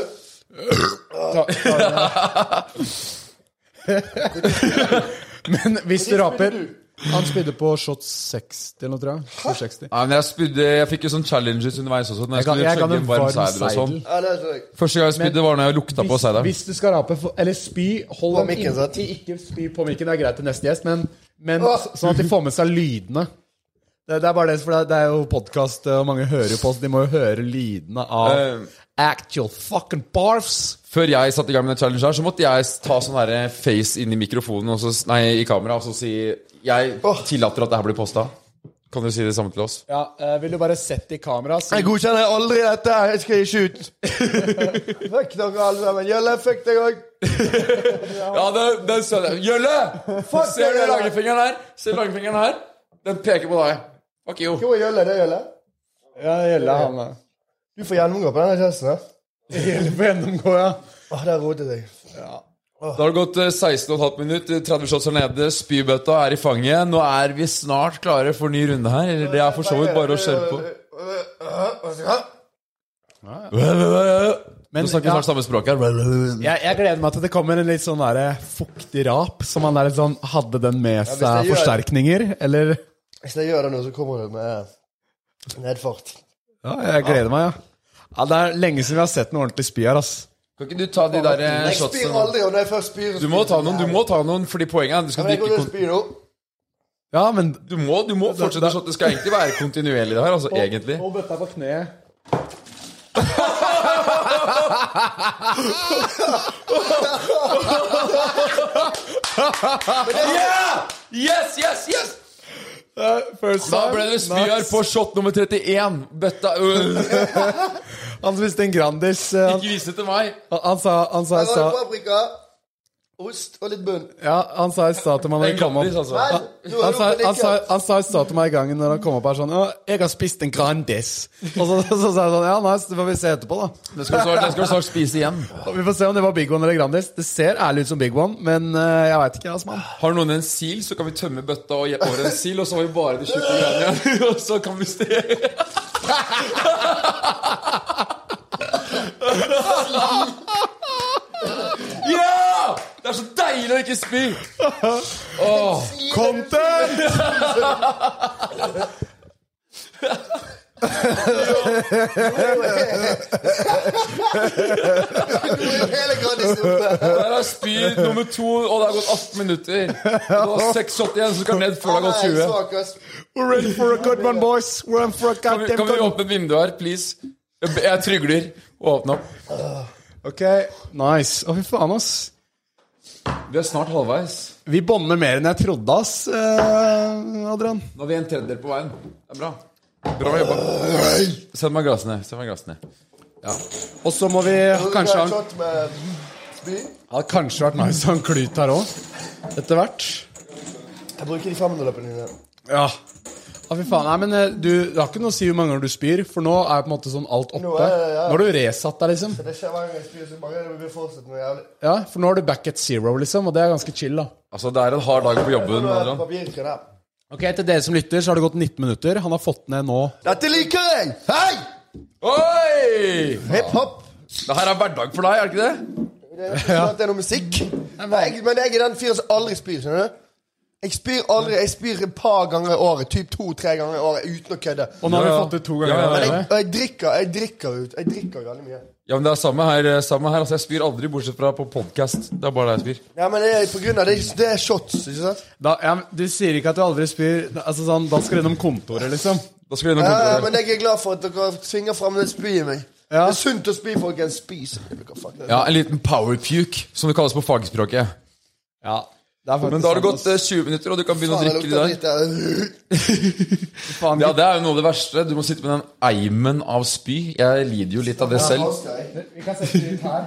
B: Men hvis du raper Han spydde på shot 60 eller noe, tror jeg. Shot 60.
A: Nei, men jeg, spydde, jeg fikk jo sånn challenges underveis også. Når jeg,
B: Jeg ga-
A: skulle
B: jeg ga
A: chugge
B: den
A: en varm
B: varm
A: seider og sånn.
B: seidel.
C: Ja, det tror jeg.
A: Første gang jeg spydde, var når jeg lukta på
B: Hvis,
A: seideren.
B: hvis du skal rape, for- eller spy Hold
C: På
B: den
C: mikken,
B: inn-
C: sant?
B: Ikke spy på mikken, det er greit til neste gjest, men, men så- sånn at de får med seg lydene. Det, det er bare det, for det, det er jo podkast, og mange hører jo på oss. De må jo høre lydene av
A: Eh.
B: actual fucking barfs.
A: Før jeg satte i gang med den challengen her, så måtte jeg ta sånn her face inn i mikrofonen, og så, nei, i kamera, og så si Jeg tillater at det her blir posta. Kan du si det samme til oss?
B: Ja, eh, Vil du bare sette i kamera? Si,
C: Jeg godkjenner aldri dette! Jeg skal ikke ut! fuck dere alle sammen. Jølle, fuck deg òg.
A: Ja, det, det sa jeg. Gjølle! Ser du langfingeren her? Ser du langfingeren her? Den peker på deg. Fuck you.
C: Hvor er Jølle? Det er Jølle.
B: ja, det gjelder han da.
C: Du får gjennomgå på denne testen. her.
B: Det gjelder for gjennomgå, ja.
C: Åh, der rotet jeg.
A: Da har det gått eh, 16,5 minutter, 30 shots er nede, spybøtta er i fanget. Nå er vi snart klare for ny runde her. Eller det er for så vidt bare å kjøre på.
B: Men,
A: Nå snakker vi
B: ja.
A: snart samme språk her.
B: Jeg, jeg gleder meg til at det kommer en litt sånn der fuktig rap. Som han der litt sånn Hadde den med
C: hvis
B: seg
C: jeg gjør-
B: forsterkninger, eller?
C: Hvis jeg gjør det nå, så kommer det med nedfart.
B: Ja, jeg gleder meg, ja. ja. Det er lenge siden vi har sett noe ordentlig spy her, ass.
A: Kan ikke du ta de der eh,
C: Jeg spyr
A: shotsene?
C: aldri, og når jeg først spyr
A: Du må ta noen, du må ta noen, fordi poenget er at du
C: Ja,
A: skal
C: men jeg går
A: drikke
C: til å
A: kon-
C: spy nå.
B: Ja, men
A: Du må, du må fortsette sånn. Det skal egentlig være kontinuerlig, det her. altså, egentlig.
B: Hold bøtta på kneet.
A: Yes, yes, yes!
B: First
A: Da ble det spyar på shot nummer 31. Bøtta øh,
B: Han spiste en Grandis. eh, Han,
A: Ikke vise det til meg.
B: han sa Han sa,
C: Her
B: jeg
C: har du
B: sa
C: paprika, ost og litt bunn.
B: Altså- Ja, han sa i stad til meg når
A: En
B: han kom
A: Grandis,
B: opp
A: altså.
C: Nei, du har
B: han
C: jo
B: sa, han, sa,
C: panikka.
B: han sa i stad til meg i gangen når han kom opp her sånn «Å, 'Jeg har spist en Grandis'. Og så, så, sa jeg sånn Ja, nice, det får vi se etterpå, da.
A: Det skal du snart, det skal du snart spise igjen.
B: Og vi får se om det var Big One eller Grandis. Det ser ærlig ut som Big One, men eh, jeg veit ikke, altså, mann.
A: Har noen en sil, så kan vi tømme bøtta og over en sil, og så har vi bare de tjukke greiene igjen. Og så kan vi steke Ja! Det er så deilig å ikke spy! Åh,
B: Content!
C: Hele Grandisen oppe.
A: der er spy nummer to, og det har gått 18 minutter. Og Du har 6,80 igjen, så du skal ned før det har
C: Nei,
A: gått 20.
C: svak, ass.
B: We're ready for a good one, boys. We're in for a
A: Kan vi,
B: goddamn
A: kan vi
B: good one.
A: åpne et vindu her, please? Jeg- Jeg trygler. Åpne opp.
B: Ok, nice. Å, fy faen, ass.
A: Vi er snart halvveis.
B: Vi bånder mer enn jeg trodde, ass, eh, Adrian.
A: Nå har vi en tredjedel på veien. Det er bra. Bra jobba. Send meg glassene. Send meg glassene.
B: Og så må vi kanskje ha
C: en shot med spy.
B: ja, Kanskje vært nice å ha en klut her òg. Etter hvert.
C: Jeg bruker de 500-løpene dine.
B: Ja. Å, fy faen. Nei, men eh, du, det har ikke noe å si hvor mange ganger du spyr, for nå er på en måte sånn alt oppe.
C: Nå er det-
B: Nå
C: ja.
B: har du resatt deg, liksom.
C: Det skjer hver gang jeg spyr, så mange ganger blir fortsatt noe jævlig.
B: Ja, For nå er du back at zero, liksom, og det er ganske chill, da.
A: Altså, det er en hard dag på jobben.
C: Nå er det
A: Adrian.
C: papirkran her.
B: Ok, Til dere som lytter, så har det gått 19 minutter. Han har fått ned nå
C: Dette liker jeg! Hei!
A: Oi!
C: Hiphop.
A: Det her er hverdag for deg, er det ikke det?
C: Det er ikke sånn at det er noe musikk. Jeg, men jeg er den fyren som aldri spyr, skjønner du? Jeg spyr aldri, jeg spyr et par ganger i året, typ to-tre ganger i året, uten å kødde.
B: Og nå
A: Ja,
B: har vi
A: ja.
B: fått det to ganger.
A: Ja, ja, ja.
C: Men
B: allerede.
C: jeg, og jeg drikker, jeg drikker ut, jeg drikker veldig mye.
A: Ja, men Det er samme her. eh, Samme her. Altså, Jeg spyr aldri, bortsett fra på podkast. Det er bare der jeg spyr.
C: Ja, men det er på grunn av det, det er shots, ikke sant?
B: Da, ja, men du sier ikke at du aldri spyr da- altså sånn, Da skal du gjennom kontoret, liksom.
A: Da skal vi
C: Ja,
A: gjennom
C: ja,
A: kontoret.
C: men jeg er glad for at dere tvinger fram det spyet i meg.
B: Ja.
C: Det er sunt å spy, folkens. Spis. Ja.
A: Ja, en liten power puke, som det kalles på fagspråket.
B: Ja, det er faktisk
A: Men da har det
B: sånn,
A: gått eh, 20 minutter, og du kan begynne å
C: Faen,
A: drikke
C: jeg
A: de
C: lukter
A: der.
C: dritt der.
B: ass. Faen,
A: Ja, Det er jo noe av det verste. Du må sitte med den eimen av spy. Jeg lider jo litt av det selv.
C: Selv.
B: Vi kan sette ut her.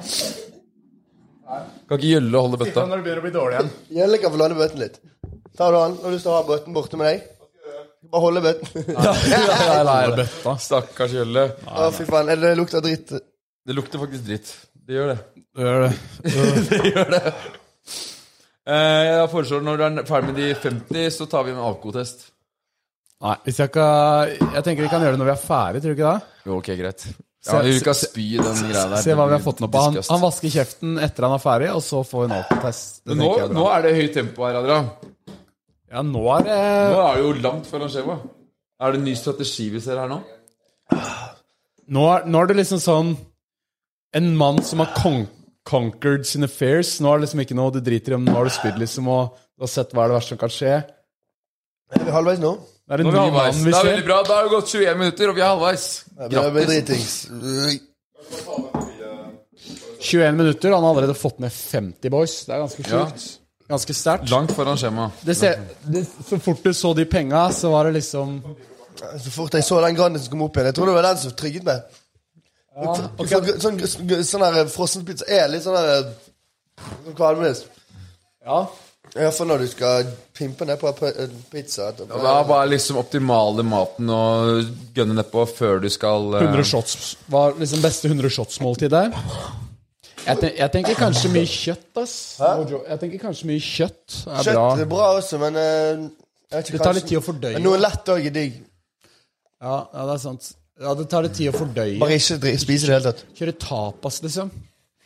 A: Kan ikke gjølle og holde
B: Da
A: bøtta.
B: når det begynner å bli dårlig igjen.
C: Gjelle kan få låne bøtten litt. Tar du den? Har du lyst til å ha bøtten borte med deg? Bare holde bøtten.
A: Nei, nei, nei.
B: Bøtta.
A: Stakkars gjølle.
C: Å, fy faen. er Det det lukter dritt.
A: Det lukter faktisk dritt. Det gjør det.
B: Gjør det.
A: Eh, Jeg foreslår når du er ferdig med de 50, så tar vi en alkotest.
B: Nei, hvis jeg kan Jeg tenker vi kan gjøre det når vi er ferdig, tror du ikke det?
A: Jo, ok, greit. Ja, vi kan spy den greia der.
B: Se hva vi har fått nå på. Han,
A: Disgust.
B: han vasker kjeften etter han er ferdig, og så får vi en alkotest. Det
A: nå,
B: tenker jeg er bra.
A: nå er det høyt tempo her, Adrian.
B: Ja, nå er det
A: Nå er det jo langt foran skjema. Er det en ny strategi vi ser her nå?
B: Nå er, nå er det liksom sånn En mann som har con conquered sine fears. Nå er det liksom ikke noe du driter i om nå har du spydd, liksom, og du har sett hva er det verste som kan skje.
C: Er vi halvveis nå?
B: Det er en
A: Nå er vi
B: ny
A: halvveis.
B: mann vi
A: Det er
B: ser.
A: veldig bra. Da har det gått 21 minutter, og vi er halvveis. Grattis.
C: dritings.
B: 21 minutter, han har allerede fått ned 50 boys. Det er ganske
A: Ja.
B: sjukt. Ganske sterkt.
A: Langt foran skjema.
B: Det ser, det, så fort du så de penga, så var det liksom
C: Så fort jeg så den Grandis som kom opp igjen Jeg tror det var den som trigget meg. Du får gr- Sånn, gr- gr- sånn der frossenpizza er litt sånn der sånn kvalmende.
B: Ja.
C: Iallfall når du skal pimpe ned på en p- en pizza.
A: Og da var liksom optimale maten å gønne nedpå før du skal eh,
B: 100 shots var liksom beste 100 shots-måltid der. Jeg, ten, jeg tenker kanskje mye kjøtt, ass. No joke. Jeg tenker kanskje mye kjøtt er
C: Kjøtt
B: bra.
C: er bra også, men eh, jeg vet
B: Det
C: ikke,
B: tar
C: kanskje-
B: litt tid å fordøye.
C: Men Noe lett òg er digg.
B: Ja, ja, det er sant. Ja, det tar litt tid å fordøye.
C: Bare ikke dri- spise i det hele tatt.
B: Kjøre tapas, liksom.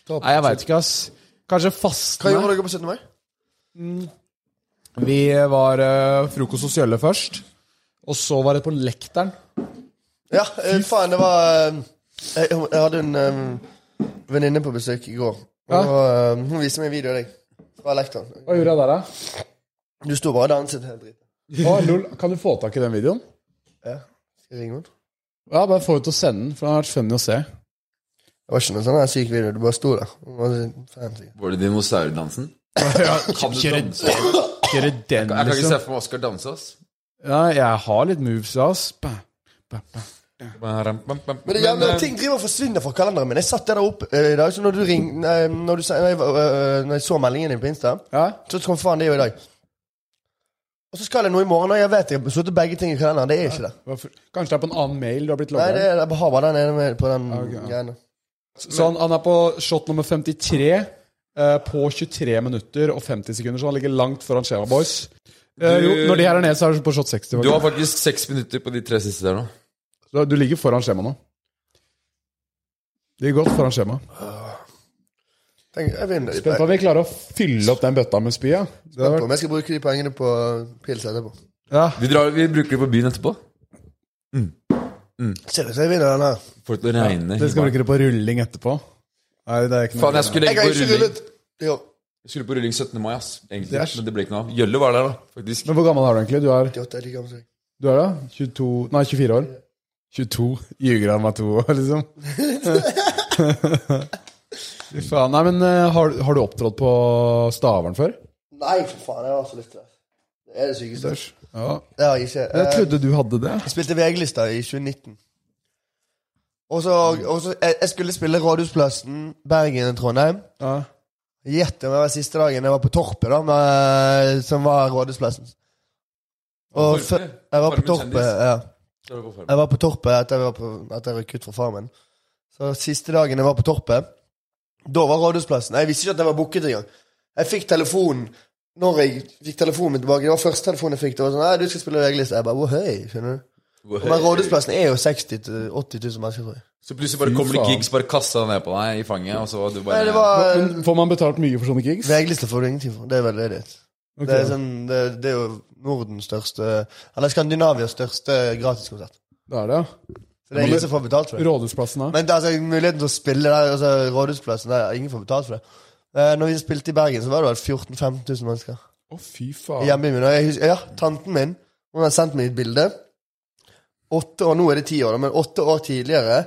C: Tapas.
B: Nei, jeg veit ikke, ass. Kanskje
C: Hva
B: fastne.
C: gjorde dere på 17. mai?
B: Vi var eh, frokost hos Jølle først. Og så var det på Lekteren.
C: Ja, eh, faen, det var eh, Jeg, jeg hadde en eh, venninne på besøk i går. Og, eh, hun viste meg en video av deg fra lektoren.
B: Hva gjorde jeg der, da?
C: Du sto bare og danset helt drit.
B: Å, lol. Kan du få tak i den videoen?
C: Ja. Skal jeg ringe henne?
B: Ja, bare få ut og sende den, for den har vært funny å se.
C: Det var ikke noen sånn her syk video. Du bare sto der. Det var så fancy.
A: Var det dinosaurdansen? Kan du danse? Jeg
B: Kjøre den,
A: kan ikke
B: liksom.
A: se for meg Oskar danse, ass.
B: Ja, jeg har litt moves, ass. Bah, bah, bah.
C: Men det jævla
A: eh,
C: ting driver og forsvinner fra kalenderen min. Jeg satt der oppe eh, i dag, så når du ring... Nei, når, du, sa- når, jeg, var- eh, når jeg så meldingen din på Insta,
B: Ja.
C: så kom faen det jo i dag. Og så skal jeg noe i morgen, og jeg vet jeg har satt begge ting i kalenderen. Det er ikke det.
B: Hvorfor? Kanskje det er på en annen mail du har blitt
C: Nei,
B: logga
C: det
B: inn?
C: er, jeg har bare den ene med på den
B: ok, ja.
C: greiene.
B: Så han, han er på shot nummer 53 eh, på 23 minutter og 50 sekunder, så han ligger langt foran Sheva Boys. Eh, jo, når de her er nede, så er du på shot 60.
A: Du
B: faktisk.
A: har faktisk seks minutter på de tre siste der nå.
B: Så du ligger foran skjema nå. Det ligger godt foran skjema.
C: Tenk, jeg vinner.
B: Spent på om vi klarer å fylle opp den bøtta med spy. Ja. Det har vært-
C: Men jeg skal bruke de pengene på pils etterpå.
B: Ja.
A: Vi, drar, vi bruker det på byen etterpå.
C: Ser ut som jeg vinner den her.
A: For til å regne.
B: Dere skal bruke det på rulling etterpå. Nei, det er ikke
A: Faen,
B: noe
A: jeg skulle
C: Jeg
A: egentlig
C: har ikke
A: på rulling.
C: rullet. Jo.
A: Jeg skulle på rulling 17. mai, ass. Egentlig,
B: Det er-
A: men det ble ikke noe av. Jølle var der, da. Faktisk.
B: Men hvor gammel er du egentlig? Du er,
C: 88 er like gammel som jeg.
B: du er da? 22 Nei, 24 år. 22. Ljuger han meg to år, liksom? Fy faen. Nei, men eh, har, har du opptrådt på Stavern før?
C: Nei, for faen. Jeg har så lyst til det. Det er det sykeste.
B: Ja.
C: Det har jeg ikke. Eh,
B: Jeg trodde du hadde det.
C: Jeg spilte VG-lista i 2019. Og så,
B: Mm.
C: og så jeg, jeg skulle spille Rådhusplassen, Bergen og Trondheim.
B: Ja.
C: Gjett om det var siste dagen jeg var på Torpet, da, med, som var Rådhusplassen. Og
A: Torpet?
C: før, jeg var på
A: Farmen
C: Torpet
A: kjendis?
C: ja.
A: Da var det på Farmen.
C: Jeg var på Torpet etter jeg, var på, etter jeg røk ut fra Farmen. Så siste dagen jeg var på Torpet, da var Rådhusplassen Jeg visste ikke at jeg var booket engang. Jeg fikk telefonen når jeg fikk telefonen min tilbake. Det var første telefonen jeg fikk. Det var sånn, nei, du skal spille VG-lista. Jeg bare, «Å, hei, skjønner du? Men Rådhusplassen er jo 60 000-80 000 mennesker, tror jeg.
A: Så plutselig bare kommer det
B: faen.
A: gigs, bare kasta ned på deg i fanget, og så var du
C: Nei,
A: bare
C: det var
B: Men får man betalt mye for sånne gigs?
C: VG-lista får du ingenting for. Det er veldig ledighet.
B: Ok.
C: Det, er sånn, det, det er jo Nordens største Eller Skandinavias største gratiskonsert.
B: Det er det, ja.
C: Så det er ingen som får betalt for det.
B: Rådhusplassen, da.
C: Men det er altså, muligheten til å spille der, altså Rådhusplassen, der, ingen får betalt for det. Eh, Når vi spilte i Bergen, så var det vel 14 000-15 000 mennesker.
B: Å, fy
C: I
B: faen.
C: hjembyen min. Og jeg husker, ja, tanten min Hun har sendt meg et bilde. Åtte år, Nå er det ti år, da, men åtte år tidligere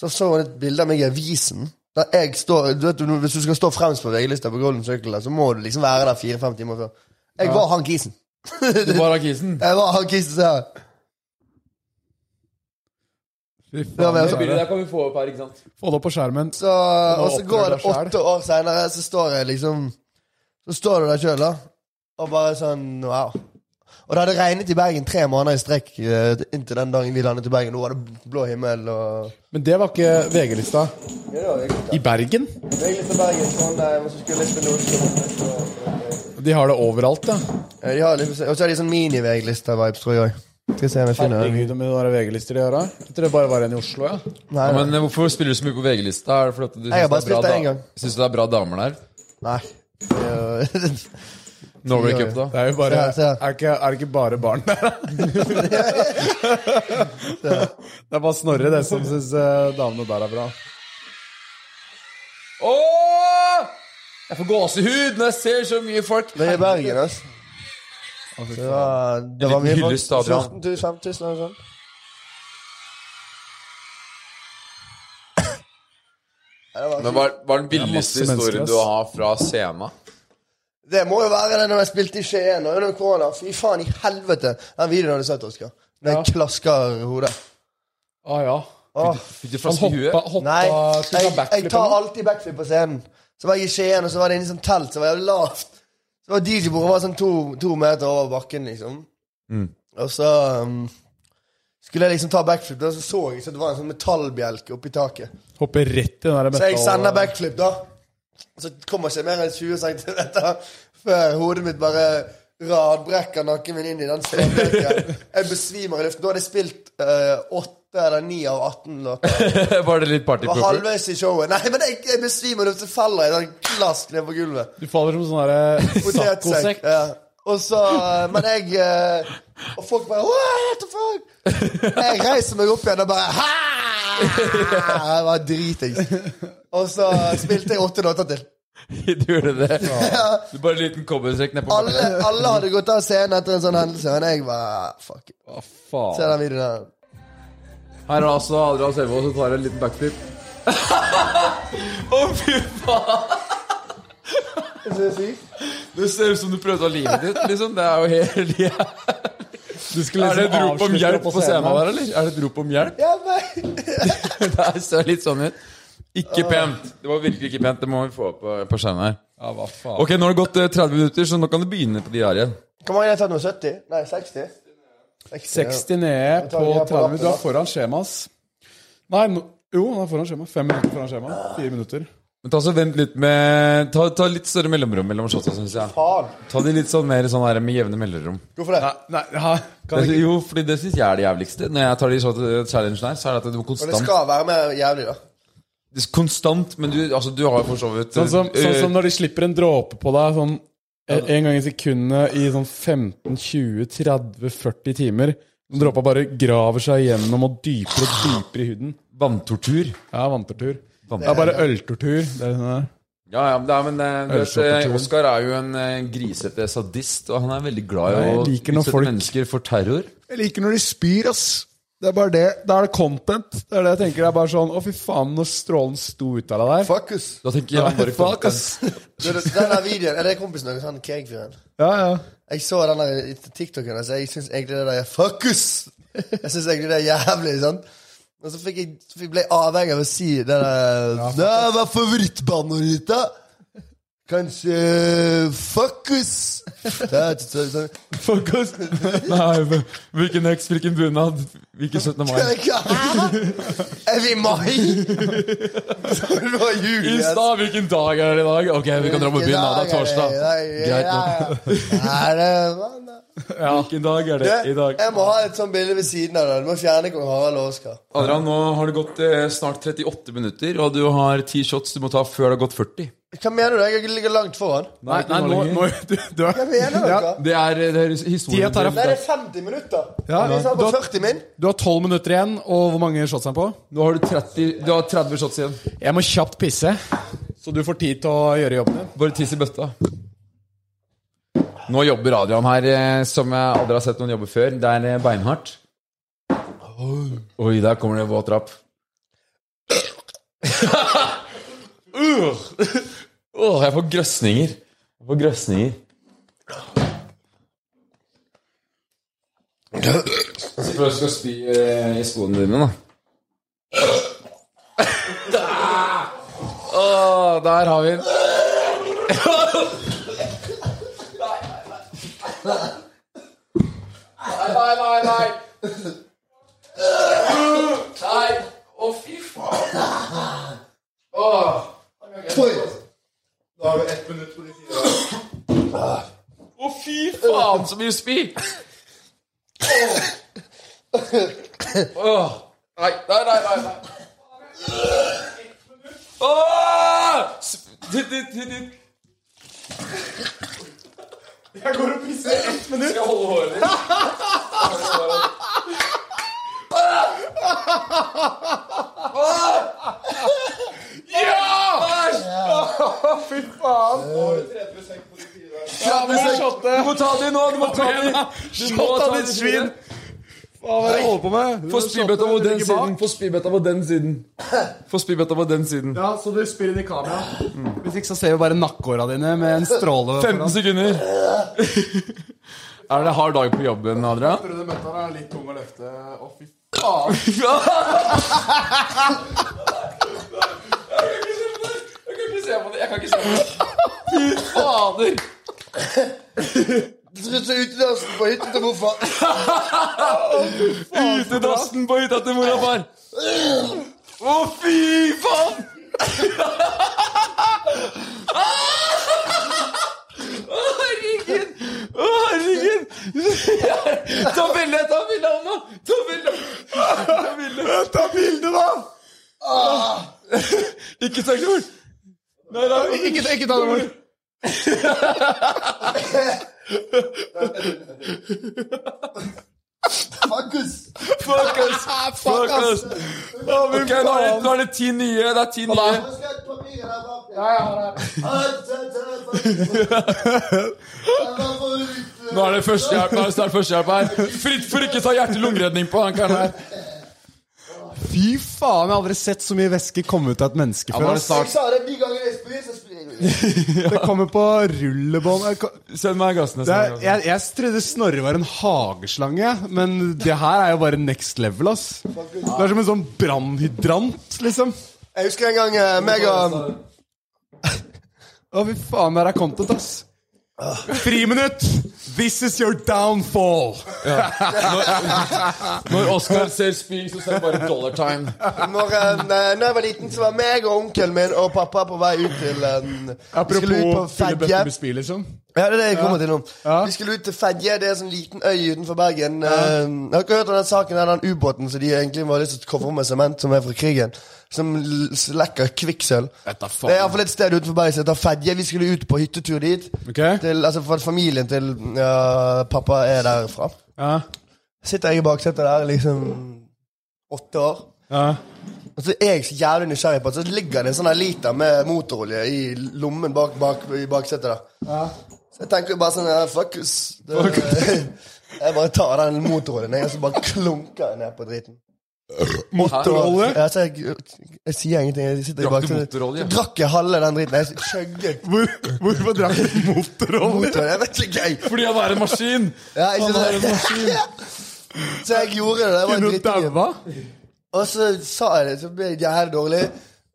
C: så så hun et bilde av meg i avisen. Der jeg står, du vet, Hvis du skal stå fremst på VG-lista på Golden Circle, så må du liksom være der fire-fem timer før. Jeg var han kisen.
A: Du var akisen.
C: Jeg var han kisen så jeg-
B: Fy
C: det var
B: faen.
C: mer
A: Det
C: sånn.
A: bildet der kan vi få opp her, ikke sant?
B: Få det opp på skjermen.
C: Så, og så
B: opptrer
C: går
B: du
C: det
B: deg selv.
C: åtte år seinere, så står jeg liksom Så står du der sjøl, da. Og bare sånn wow. Og det hadde regnet i Bergen tre måneder i strekk eh, inntil den dagen vi landet i Bergen. Nå var det blå himmel og
B: Men det var ikke VG-lista. I Bergen?
C: Jeg er litt i Bergen, Trondheim, og så skulle jeg spille Oslo.
B: De har det overalt, da.
C: Ja, de har litt, og så er de sånn mini-VG-lista-vibes, tror jeg. Skal vi se om jeg finner den.
B: Herregud, om det var VG-lister de har, da. Jeg tror det bare var en i Oslo, ja.
C: Nei,
A: Ja,
C: nei.
A: men eh, hvorfor spiller du så mye på VG-lista? Er det fordi at du
C: har bare
A: syns det, er
C: spilt
A: bra
C: det en
A: da-
C: gang.
A: syns du det er bra damer der?
C: nei. Det er jo-
A: Norway Cup, da?
B: Det er jo bare
C: Se her, se her.
B: Er, ikke, er det ikke bare barn der, da? det er bare Snorre, det, som syns damene der er bra.
A: Åh! Jeg får gåsehud når jeg ser så mye folk.
C: Det er i Bergen, altså. Det var, det var mye
A: liten
C: folk.
A: hyllest av Adrian.
C: 14 000, 5000 eller noe sånt. Ja, det var-
E: Men hva hva er den
B: er masse
E: villeste
B: mennesker,
E: historien
B: ass.
E: du har fra scenen?
C: Det må jo være det når jeg spilte i Skien og under korona. Fy faen i helvete. Den videoen har du sett, Oskar. Den klasker hodet.
B: Ah, ja.
C: Åh,
A: Fikk du
B: Han
A: flaske i
B: hoppa,
A: huet?
B: hoppa
C: nei,
B: skulle
C: jeg,
B: ta
C: jeg
B: sånn backflip.
C: tar
B: eller noe?
C: alltid backflip på scenen. Så var jeg i Skien, og så var det inne i sånn telt som var jævlig lavt. Så var DJ-bordet var sånn to, to meter over bakken, liksom. Og så um, skulle jeg liksom ta backflip, da, så så jeg så det var en sånn metallbjelke oppi taket.
B: Hopper rett i den der
C: Så jeg
B: metal-
C: sender backflip, da. Så kommer ikke mer enn 20 cm før hodet mitt bare radbrekker nakken min inn i den strømbekken. Jeg besvimer i luften. Da hadde jeg spilt eh, åtte eller ni av 18 låter.
A: Var det litt
C: Det var
A: partypooper?
C: halvveis i showet. Nei, men jeg, jeg besvimer i luften, så faller jeg sånn klask ned på gulvet.
B: Du faller som sånn derre
C: Potetsekk.
B: saccosekk.
C: Ja. Og så eh, Men jeg eh, Og folk bare «Wow, What the fuck? Jeg reiser meg opp igjen og bare «Ha!» Jeg var dritings. Og så spilte jeg åtte låter til.
A: Du gjorde det? Du bare en liten cowboystrekk nedpå
C: alle, alle hadde gått av scenen etter en sånn hendelse, men jeg bare Fuck. it.
A: Å,
C: Se
A: faen.
C: den videoen der.
E: Her er altså Adrian Selvaas som tar en liten backflip.
A: Å, fy faen!
C: Er det sykt?
A: Det ser ut som du prøvde å ha livet ditt, liksom. Det er jo helt jævlig.
B: Du skulle
A: Er det et
B: liksom
A: rop om
B: avslutte
A: hjelp
B: på
A: på scenen
B: scenen.
A: der, eller? Er det et rop om hjelp?
C: Ja, men
A: Det ser litt sånn ut. Ikke
C: Ah.
A: pent. Det var virkelig ikke pent. Det må vi få opp eh, på skjermen her.
B: Ja, hva faen.
A: Ok, nå har det gått eh, 30 minutter, så nå kan du begynne på de her igjen.
C: Hvor mange har jeg tatt nå? 70? Nei, 60? 60, ja.
B: 60 nede
C: tar vi
B: på
C: her på
B: 30 minutter. Du
C: lappen,
B: er foran skjema, ass. Nei, nå- jo, han er foran skjema. Fem minutter foran skjema. Fire minutter.
A: Men ta så vent litt med Ta, ta litt større mellomrom mellom shotsa, syns jeg.
C: Faen.
A: Ta de litt sånn mer sånn her med jevne mellomrom.
C: Hvorfor det?
B: Nei, ja, kan
A: Det,
B: ikke
A: jo, fordi det syns jeg er det jævligste. Når jeg tar de shot- challengene her, så er det at det er
C: Men det
A: konstant.
C: skal være mer jævlig, da.
A: Det er konstant, men du, altså, du har jo for så vidt
B: Sånn som, sånn
A: eh,
B: som når de slipper en dråpe på deg sånn en en gang i sekundet i sånn 15, 20, 30, 40 timer. Den Dråpa bare graver seg gjennom og dypere og dypere i huden.
A: Vanntortur.
B: Ja, vanntortur.
A: Vanntortur.
B: Det er bare øltortur. Det er sånn der.
A: Ja, ja, men det er, men eh, du vet,
B: Ølsjokkertur.
A: eh, Oskar er jo en eh, grisete sadist, og han er veldig glad i å
B: Nei, jeg liker når
A: utsette
B: folk-
A: mennesker for terror.
B: Jeg liker når de spyr, ass. Det er bare det. Da er det content. Det er det jeg tenker. Det er bare sånn Å, fy faen, når strålen sto ut av deg der.
C: Fuck us.
A: Da tenker jeg han bare
B: Fuck, ass.
C: Den der videoen Er det kompisen deres, han Keg-fyren?
B: Ja, ja.
C: Jeg så den der i TikToken, altså. Jeg syns egentlig det der er Fuck us! Jeg syns egentlig det er jævlig, sant? Og så fikk jeg, så ble jeg avhengig av å si det der Det var favorittbandet ditt, da! Kanskje Fuck us! Det er et sånt- sånt-
A: Fuck oss! Nei, hvilken heks, hvilken bunad, hvilken 17. mai?
C: Er vi i mai? Så det var jul igjen.
A: Insta, hvilken dag er det i dag? Ok, vi kan dra på byen, da. Det er torsdag. Greit nok.
C: Greit nok.
A: Hvilken dag er det i dag?
C: Jeg må ha et sånt bilde ved siden av det. Du må fjerne kong Harald og Oskar.
A: Adrian, nå har det gått eh, snart 38 minutter, og du har 10 shots du må ta før det har gått 40.
C: Hva mener du? Jeg ligger langt foran.
B: Nei, nei, nå, nå du, du er,
C: Hva mener dere?
B: ja,
A: Det er, eh, det er
B: Tida
A: historien
B: tar av-
C: Nei, det er 50 minutter.
B: Ja,
C: vi sa på
B: da-
C: 40 min.
B: du har 12 minutter igjen, og hvor mange shots er den på?
A: Nå har du 30, du har 30 shots igjen.
B: Jeg må kjapt pisse, så du får tid til å gjøre jobben din.
A: Bare tiss i bøtta. Nå jobber Adrian her eh, som jeg aldri har sett noen jobbe før. Det er eh, beinhardt. Oi, der kommer det våt trapp. uh, Åh, jeg får grøsninger. Jeg får grøsninger. Så prøv å spy eh, i skoene dine, da. Åh, der har vi den. Nei, nei, nei. Nei. Å, fy faen.
C: Da har vi ett minutt på de fire.
A: Å, fy faen, så mye spy. Åh. Åh. Nei, nei, nei. nei, nei. Åh! Sp- du, du, du, du.
C: Jeg går og pisser ett minutt.
A: Jeg holder håret ditt. Ja! Æsj!
C: Faen.
A: Ja, men se, Du må ta de nå! Du må ta de! Du må ta de svin!
B: Hva er det du holder på med?
A: Få spybøtta på den siden. Få spybøtta på den siden. Få spybøtta på den siden.
B: Ja, så du spyr inn i kamera. Hvis ikke så ser vi bare nakkehåra dine med en stråle.
A: 15 sekunder. Er det hard dag på jobben, Adrian?
B: Prøv den bøtta, den er litt tung å løfte. Å, fy
A: Jeg kan ikke se på det. Jeg kan ikke se på det. Fy fader.
C: Det ser ut som utedassen på hytta til morfar.
A: Utedassen på hytta til mor og far. Å, fy faen! Å, herregud! Å, herregud! Ta bilde! Ta bilde av meg! Ta bilde! Ta bilde, ta bilde da! Ikke snakk til mor. Nei, nei,
B: Ikke, ikke ta det bort.
C: Markus!
A: fuck us! Fuck us! Ok, nå er det, nå er det ti nye. Det er ti nye.
C: Nå skal jeg ha papiret her bak. Ah, se, se, se. Jeg bare får ut, eh,
A: Nå er det førstehjelp, nå er det snart førstehjelp her. Fritt for ikke ta hjerte-lungeredning på han karen her.
B: Fy faen, jeg har aldri sett så mye væske komme ut av et menneske før.
A: nå er det
B: ass.
C: Jeg sa det ni ganger jeg spyr, så spyr jeg.
B: Det kommer på rullebånd. Jeg ko-
A: Send meg gassene.
B: Det
A: Send
B: er,
A: meg gassene.
B: jeg, jeg trodde Snorre var en hageslange, men det her er jo bare next level, ass. Det er som en sånn brannhydrant, liksom.
C: Jeg husker en gang eh, meg og
B: Å, fy faen, det her er content, ass. Friminutt! This is your downfall!
A: Når Oskar ser spy, så ser han bare dollar time.
C: Når, eh, når jeg var liten, så var meg og onkelen min og pappa på vei ut til en, Vi
B: Apropos
C: skulle ut på Fedje.
B: fyllebøtte med spy, liksom.
C: Ja, det er det jeg kommer til nå.
B: Ja.
C: Vi skulle ut til Fedje. Det er en sånn liten øy utenfor Bergen. Eh, Jeg har ikke hørt om den saken der, den ubåten som de egentlig var lyst til å covre med sement, som er fra krigen. Som l- s- lekker kvikksølv.
B: Vet da faen.
C: Det er iallfall et sted utenfor Bergen som heter Fedje. Vi skulle ut på hyttetur dit.
B: Ok?
C: Til, altså for Familien til ja, pappa er derfra.
B: Ja.
C: Sitter jeg i baksetet der, liksom åtte år.
B: Ja.
C: Og så er jeg så jævlig nysgjerrig på at så ligger det en sånn her liter med motorolje i lommen bak, bak i baksetet. da. Så jeg tenker jo bare sånn ja, Fuck us. Det, jeg bare tar den motoroljen jeg, og så bare klunker jeg ned på driten.
B: Motorolje?
C: Ja, så jeg, jeg sier ingenting. Jeg sitter i
A: Drakk du
C: baksetet.
A: motorolje?
C: Så drakk jeg halve den driten. Jeg skjøgget
B: Hvor, hvorfor drakk du motorolje?
C: motorolje. Jeg vet ikke, jeg.
A: Fordi han er en maskin.
C: Ja, jeg
A: Han er en
C: synes,
A: maskin.
C: så jeg gjorde det. Jeg var
B: Kunne du
C: drittunge.
B: daua?
C: Og så sa jeg det, så ble jeg jævlig dårlig.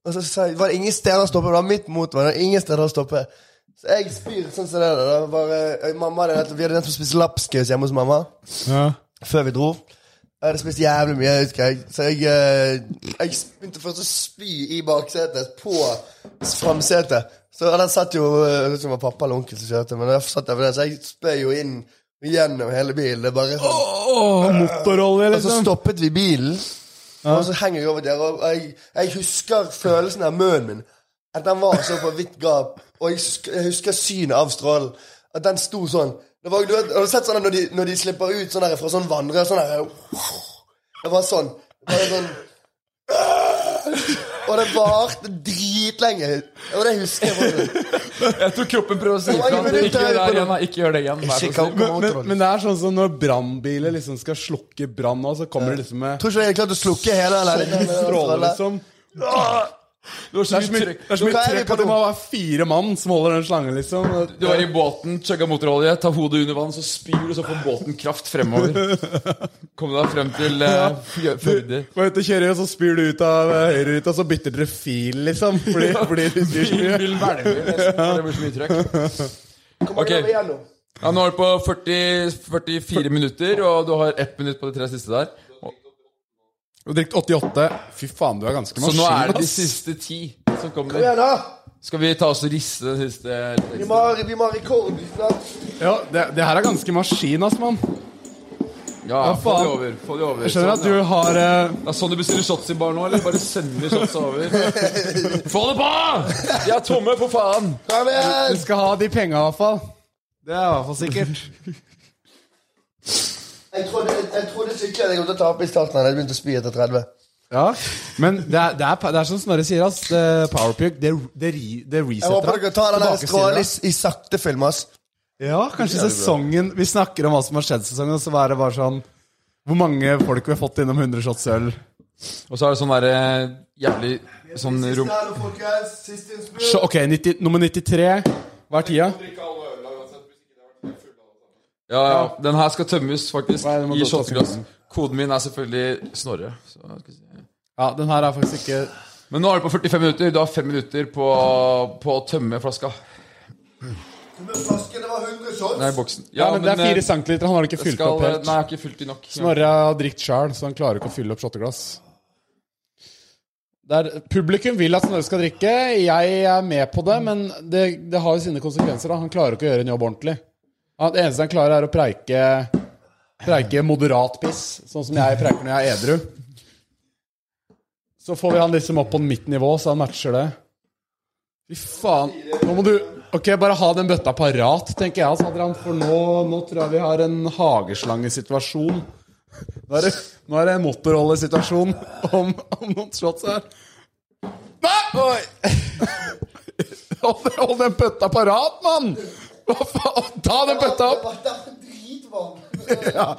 C: Og så sa jeg, var det ingen steder å stoppe. Det var mitt mot meg. det var ingen steder å stoppe. Så jeg spyr sånn som det der. da. Bare, jeg- mamma, hadde nettopp- vi hadde nettopp spist lapskaus hjemme hos mamma
B: Ja.
C: før vi dro. Jeg hadde spist jævlig mye, jeg husker jeg. Så jeg, eh, jeg begynte først å spy i baksetet, på framsetet. Så den satt jo eh, Jeg vet ikke om det var pappa eller onkel som kjørte, men jeg satt der for den, så jeg spøy jo inn gjennom hele bilen. Det er bare sånn
B: Åh, motorolje,
C: og så
B: liksom.
C: stoppet vi bilen, og så henger jeg over der, og jeg, jeg husker følelsen av munnen min. At den var så på vidt gap, og jeg, husk- jeg husker synet av strålen. At den sto sånn. Det var, du vet, har du sett sånn at når de, når de slipper ut sånn der fra sånn vannrør? Sånn der Det var sånn. Det var sånn og det varte dritlenge. Og det husker jeg. fortsatt.
A: Jeg tror kroppen prøver å si ifra. at Ikke gjør det her igjen. da. Ikke gjør det igjen. Vær så
C: Ikke
A: snill.
C: kom-
B: Men,
C: kom
B: men,
C: motorolje.
B: men det er sånn som når brannbiler liksom skal slukke brann, og så kommer de liksom med
C: Tror ikke jeg hadde klart å slukke hele den leiligheten.
B: stråler, liksom.
A: Det var så
B: Det er så mye,
A: mye
B: det er så mye
C: Hva er vi
B: trøkk
C: på
B: at det
C: nå?
B: må være fire mann som holder den slangen, liksom.
A: Du er i båten, chugga motorolje, ta hodet under vann, så spyr du, så får båten kraft fremover. Kom deg frem til eh, Fjø- Førde.
B: Hva heter kjører, og så spyr du ut av eh, høyreruta, og så bytter dere fil, liksom. Fordi, fordi du spyr så mye.
A: Bilen velger, nesten, for det blir så mye trøkk. Ok. Ja, nå er det på 40, 44 minutter, og du har ett minutt på de tre siste der.
B: Du har drukket 88. Fy faen, du er ganske
A: Så
B: maskin.
A: nå er det de
B: ass.
A: siste ti som kommer.
C: Ja, da.
A: Skal vi ta oss og riste den siste?
C: Vi må ha- vi må ha rekord snart.
B: Ja, det, det her er ganske maskin, ass, mann.
A: Ja, få
B: faen.
A: de over. Få de over.
B: Jeg skjønner
A: Sånn,
B: at du
A: ja.
B: har eh,
A: Det er sånn du bestiller shots i bar nå, eller? Bare sender shots over. Få det på! De er tomme, for faen!
C: Kom
B: Du
C: igjen!
B: skal ha de penga, i hvert fall. Det er i hvert fall sikkert.
C: Jeg trodde, jeg, jeg trodde sykkelen jeg kom til å tape i starten. da Jeg begynte å spy etter 30.
B: Ja, Men det er, det er, det er som Snorre sier, ass. det Powerpug, det, det, ri- det
C: Jeg
B: resetter
C: håper dere tar den der
B: Tilbakesiden,
C: skrålen i,
B: ass.
C: i sakte film, ass.
B: Ja, kanskje sesongen Vi snakker om hva som har skjedd sesongen, og så er det bare sånn Hvor mange folk vi har fått innom 100 shots øl?
A: Og så er det sånn derre jævlig sånn rom...
B: Så, ok, 90, nummer 93. Hva er tida?
A: Ja, ja. Den her skal tømmes, faktisk.
B: Nei, det må
A: I
B: gå til
A: shotteglass.
B: tømmingen.
A: Koden min er selvfølgelig Snorre. Så, skal vi se.
B: Ja, den her er faktisk ikke
A: Men nå er det på 45 minutter. Du har fem minutter på, på å tømme flaska.
C: Flasken, det var 100 shots.
A: Nei, boksen.
B: Ja, men, det er
A: eh,
B: fire centiliter. Han har ikke
A: jeg
B: fylt
A: skal- eh,
B: opp helt.
A: Nei, jeg har ikke fylt i nok. Ja.
B: Snorre har drikt sjøl, så han klarer ikke å fylle opp shotteglass. Det er- publikum vil at Snorre skal drikke. Jeg er med på det, men det, det har jo sine konsekvenser. Da. Han klarer ikke å gjøre en jobb ordentlig. Han, det eneste han klarer, er å preike, preike moderat piss, sånn som jeg preiker når jeg er edru. Så får vi han liksom opp på mitt nivå, så han matcher det. Fy faen. Nå må du Ok, bare ha den bøtta parat, tenker jeg, altså, Adrian. For nå, nå tror jeg vi har en hageslangesituasjon. Nå er det, nå er det en motorrollesituasjon om, om noen shots her. Nei! Oi! Hold, hold den bøtta parat, mann! Hva faen? Ta den bøtta opp!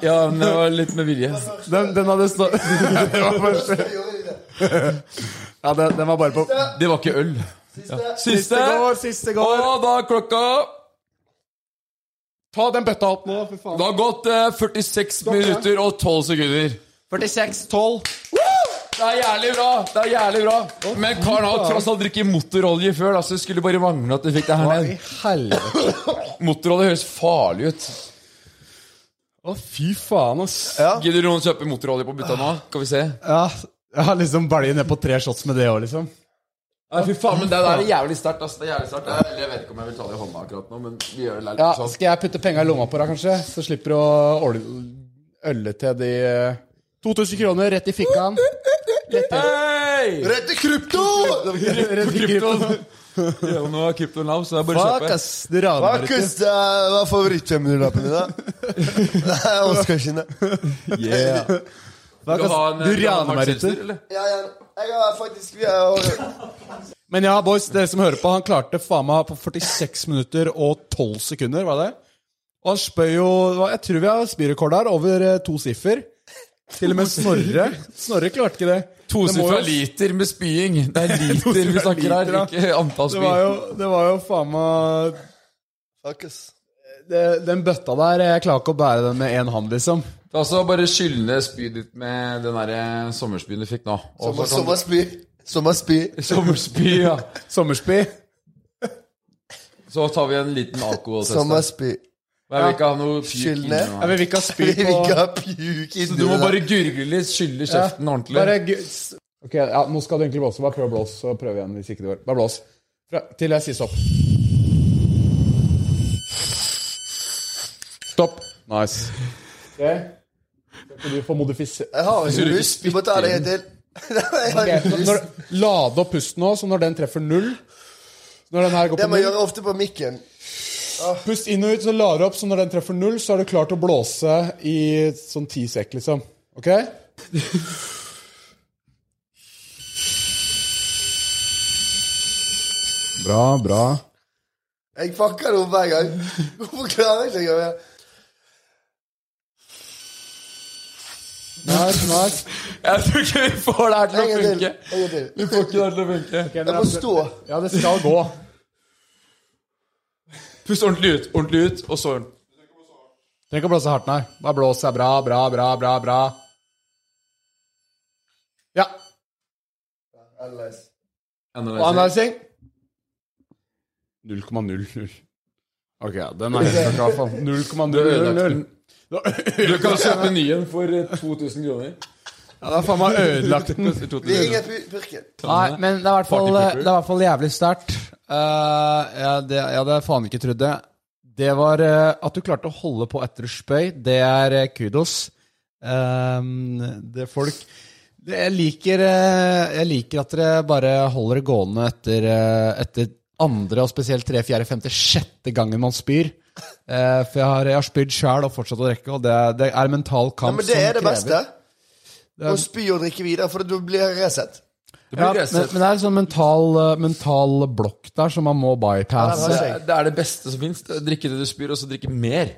A: Ja, men det var litt med vilje.
B: Den, den hadde stå... Det var første. Ja, den, den var bare på
A: Det var ikke øl. Ja. Siste.
B: Siste går, siste går.
A: Og da er klokka
B: Ta den bøtta opp nå, for faen.
A: Det har gått eh, 46 minutter og 12 sekunder.
B: 46-12.
A: Det er jævlig bra! det er jævlig bra Men karen har tross alt drukket motorolje før, da, så det skulle bare mangle at du fikk det her ned.
B: I helvete.
A: Motorolje høres farlig ut.
B: Å, fy faen, ass.
A: Gidder noen kjøpe motorolje på butta nå? Skal vi se.
B: Ja, jeg har liksom balje ned på tre shots med det òg, liksom.
A: Nei, fy faen, men Det der er jævlig sterkt. ass. Det er jævlig sterkt. Jeg jeg vet ikke om jeg vil ta det i hånda akkurat nå, men vi gjør det litt
B: Ja,
A: sånn.
B: Skal jeg putte penga i lomma på deg, kanskje? Så slipper du å ol- ølle til de eh, 2000 kroner rett i fikkaen.
A: Hey!
C: Rett til krypto!
B: Rett i kryptoen.
A: Ja, nå er krypto lav, så det er bare å
B: Fuck,
A: kjøpe.
B: ass. Du raner
C: Hva
B: ikke.
C: kosta Hva er favoritt-femhundrelappen din, da? Nei, jeg orker ikke det.
B: Fuck,
A: Vil Du,
B: ass.
A: ha en,
B: Du
A: vil ha en
B: raner meg,
A: hard
B: Ritter.
A: seltzer, eller?
C: Ja, ja, jeg har faktisk vi har,
B: Men ja, boys, dere som hører på, han klarte faen meg på 46 minutter og 12 sekunder, var det? Og han spøy jo Jeg tror vi har spyrekord her, over eh, to siffer. Til og med Snorre. Snorre klarte ikke det. Det må
A: Tosifra
B: jo-
A: liter med spying. Det er liter vi
B: Tosifra
A: snakker her,
B: liter, ja.
A: ikke antall
B: Det var
A: spy.
B: jo, det var jo faen meg
C: Fuck, ass.
B: det- Den bøtta der, jeg klarer ikke å bære den med én hand, liksom.
A: Ta så bare skyll ned spyet ditt med den derre sommerspyen du fikk nå. Og så kan
C: Sommer-
A: du-
C: Sommerspy. Sommerspy.
A: Sommerspy, ja.
B: Sommerspy.
A: Så tar vi en liten alkoholtest. da.
C: Sommerspy.
A: Jeg vil ikke ha noe fyr
C: Skyll
A: inni
C: ned.
B: Jeg
A: meg.
B: vil ikke ha spy
C: Vi vil
B: på
C: ikke ha pjuk inni
A: Du må
C: deg.
A: bare gurgle litt, skylle kjeften ordentlig.
B: Bare gu- s- Ok, ja, nå skal du egentlig blåse. Bare prøv å blåse, så prøv igjen hvis ikke det går. Bare blås. Fra, til jeg sier stopp. Stopp. Nice. Ok. Så kan du få modifisere
C: Jeg har
A: Du
C: ikke
A: vil
C: lyst.
A: ikke
C: Du må ta deg en til. Jeg har
B: Ok,
C: ikke
B: når,
C: lyst.
B: Lade opp pusten nå, så når den treffer null Når den her går
C: Det
B: på
C: må jeg
B: null
C: gjøre ofte på mikken.
B: Pust inn og ut, så lader du opp, så når den treffer null, så er du klar til å blåse i sånn ti sekk, liksom. Ok? Bra, bra.
C: Jeg fucker det opp hver gang. Hvorfor klarer jeg ikke å gjøre det?
B: Nice, nice.
A: Jeg tror ikke vi får det her til å
C: En gang til.
A: funke.
C: En gang til.
A: Vi får ikke det her til å funke.
C: Jeg må stå.
B: Ja, det skal gå.
A: Pust ordentlig ut, ordentlig ut, og så
B: Trenger ikke å blåse hardt, nei. Bare blås deg bra, bra, bra, bra, bra. Ja.
A: Analyse.
B: Analysing. 0,00. Ok, ja, den er helt klart, i hvert fall. 0,000.
A: Du kan kjøpe en ny en for eh, 2000 kroner.
B: Ja, det er faen meg ødelagt den.
A: Koster
C: Vi
A: 2000 kroner.
C: ringer pu- purken.
B: Nei, men det er i hvert fall,
A: Partypooper.
B: det er i hvert fall jævlig sterkt. Eh, jeg, det- jeg hadde faen ikke trodd det. Det var eh, at du klarte å holde på etter spøy, det er eh, kudos. Ehm, det er folk det, jeg, liker, eh, jeg liker at dere bare holder det gående etter, eh, etter andre, og spesielt tre, fjerde, femte, sjette gangen man spyr. Eh, for jeg har, jeg har spydd sjæl og fortsatt å drikke, og det, er- det er en mental
C: Ja,
B: kamp
C: men det
B: som
C: er
B: sånn
C: det
B: krever-
C: beste. Å spy og drikke videre, for da blir jeg resett.
A: Det
B: Ja,
A: blir
B: men,
A: racer.
B: men det er en sånn mental, eh, mental blokk der som man må bypasse.
C: Ja,
A: Det, er- det er det beste som fins. Drikke det du spyr, og så drikke mer.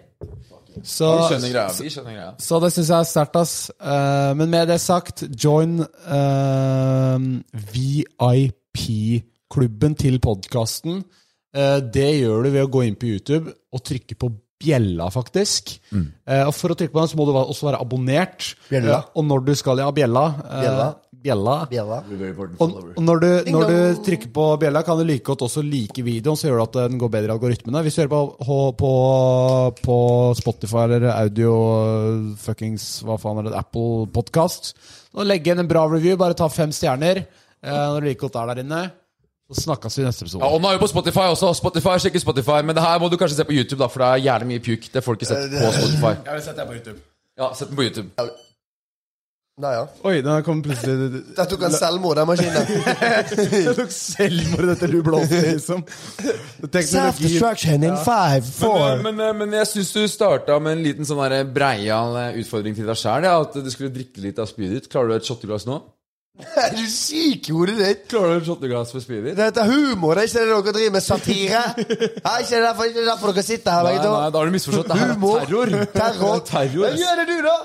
B: Så,
A: Vi skjønner greia. Vi skjønner greia.
B: så det syns jeg er sterkt, ass. Eh, men med det sagt, join eh, VIP-klubben til podkasten. Eh, det gjør du ved å gå inn på YouTube og trykke på bjella, faktisk. Eh, og for å trykke på den, så må du va- også være abonnert.
C: Bjella.
B: Eh, og når du skal Ja, bjella. eh,
C: Bjella.
B: bjella.
C: Bjella.
B: Og, og når, du, når du trykker på bjella, kan du like godt også like videoen, så gjør det at den går bedre i algoritmene. Hvis du hører på, på- på, på Spotify eller audio fuckings hva faen er det, Apple podcast nå legg igjen en bra review, bare ta fem stjerner eh, når du like godt er der inne. Så snakkes vi i neste
A: Ja,
B: episode.
A: og nå er vi på Spotify også. Spotify, Sjekk ut Spotify. Men det her må du kanskje se på YouTube, da for det er gjerne mye pjuk. Det får du ikke sett på Spotify.
B: Jeg vil sette deg på YouTube.
A: Ja, sett den på YouTube.
C: Nei, ja.
B: Oi, den kom plutselig
C: Der tok han selvmord, den maskinen.
B: Jeg tok selvmord i dette lublåset, liksom. Teknologi
C: Self-destruction in five, four
A: Men, eh, men, men jeg syns du starta med en liten sånn der breial utfordring til deg sjæl. Ja, at du skulle drikke litt av spydet ditt. Klarer du et shotteglass nå?
C: Er du syk i hodet ditt?
A: Klarer du et shotteglass med spydet ditt?
C: Det heter humor, det er ikke det dere driver med satire? Nei, ikke det derfor, ikke det derfor dere sitter her
A: Nei, nei,
C: begge to?
A: da har du misforstått. Det her er
C: Humor.
A: terror.
C: Terror.
A: Det er terror,
C: Ja,
A: ass.
C: Gjør det du, da!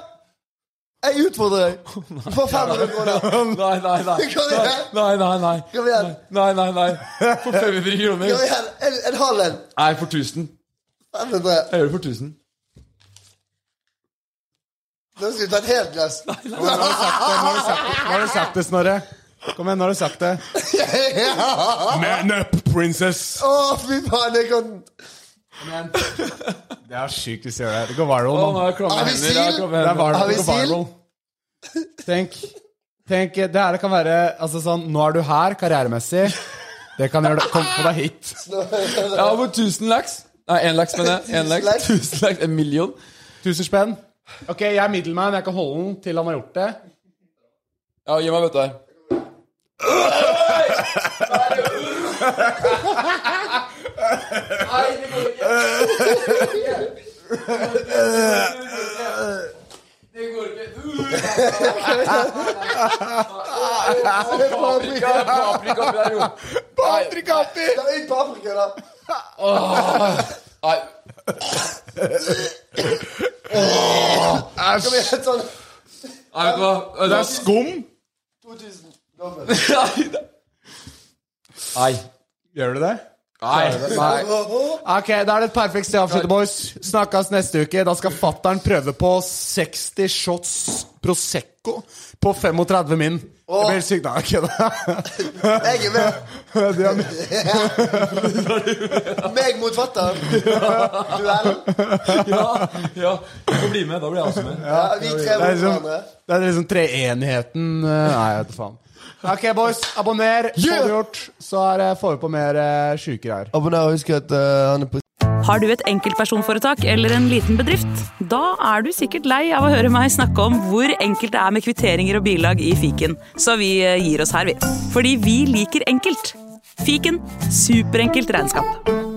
C: Jeg utfordrer deg. Du får 500 kroner.
A: Nei, nei, nei.
C: Kom igjen.
A: Nei, nei, nei.
C: Kom igjen.
A: Nei, nei, nei. For 500
C: Kom
A: kroner.
C: igjen. En, en halv en.
A: Nei, for 1000.
C: 500.
A: Jeg gjør det for 1000.
C: Nå skal vi ta et helt glass.
B: Nå har du sagt det, Snorre. Kom igjen, nå har du sagt det. Man up, princess!
C: Å, fy faen, jeg kan
B: Det er sykt hvis jeg gjør det. Det går viral
A: Å, nå
B: nå.
A: er jeg klamme
C: Er vi
A: hender, jeg
C: sil?
A: har klamme
B: Det er
A: hender.
B: viral.
C: Har vi
B: Det går viral. Tenk, tenk, det her kan være altså sånn, Nå er du her karrieremessig. Det kan gjøre det. Kom på deg hit.
A: Ja, for 1000 laks. Nei, 1 laks, mener jeg. 1 laks. 1000 laks. En million.
B: Tusen spenn. Ok, jeg er middelmann. Jeg kan holde den til han har gjort det.
A: Ja, gi meg bøtta her.
C: Paprika.
A: Paprika oppi der, jo.
B: Paprika oppi!
C: Ta inn paprika, da.
A: Nei.
C: Kom igjen, sånn
A: Nei, vet du hva?
B: Det er skum.
C: 2000. Dobbelt.
A: Nei.
B: Gjør du det?
A: Nei.
B: Nei. Ok, da er det et perfekt sted å avslutte, boys. Snakkes neste uke. Da skal fattern prøve på 60 shots Prosecco på 35 min. Det blir helt sykt. Nei, jeg kødder.
C: Jeg er med.
B: Du er med.
C: Meg mot fatter'n. Duell.
A: Ja, ja. Du får bli med. Da blir jeg også med.
C: Ja, vi tre
B: Det
C: mot
B: er liksom,
C: hverandre.
B: det er liksom treenigheten eh, Nei, jeg vet da faen. Ok, boys. Abonner. Få det gjort. Så er, det- får vi på mer uh, sjuke greier.
C: Abonner og husk at eh, han er på
F: Har du et enkeltpersonforetak eller en liten bedrift? Da er du sikkert lei av å høre meg snakke om hvor enkelt det er med kvitteringer og bilag i fiken, så vi eh, gir oss her, vi. Fordi vi liker enkelt. Fiken superenkelt regnskap.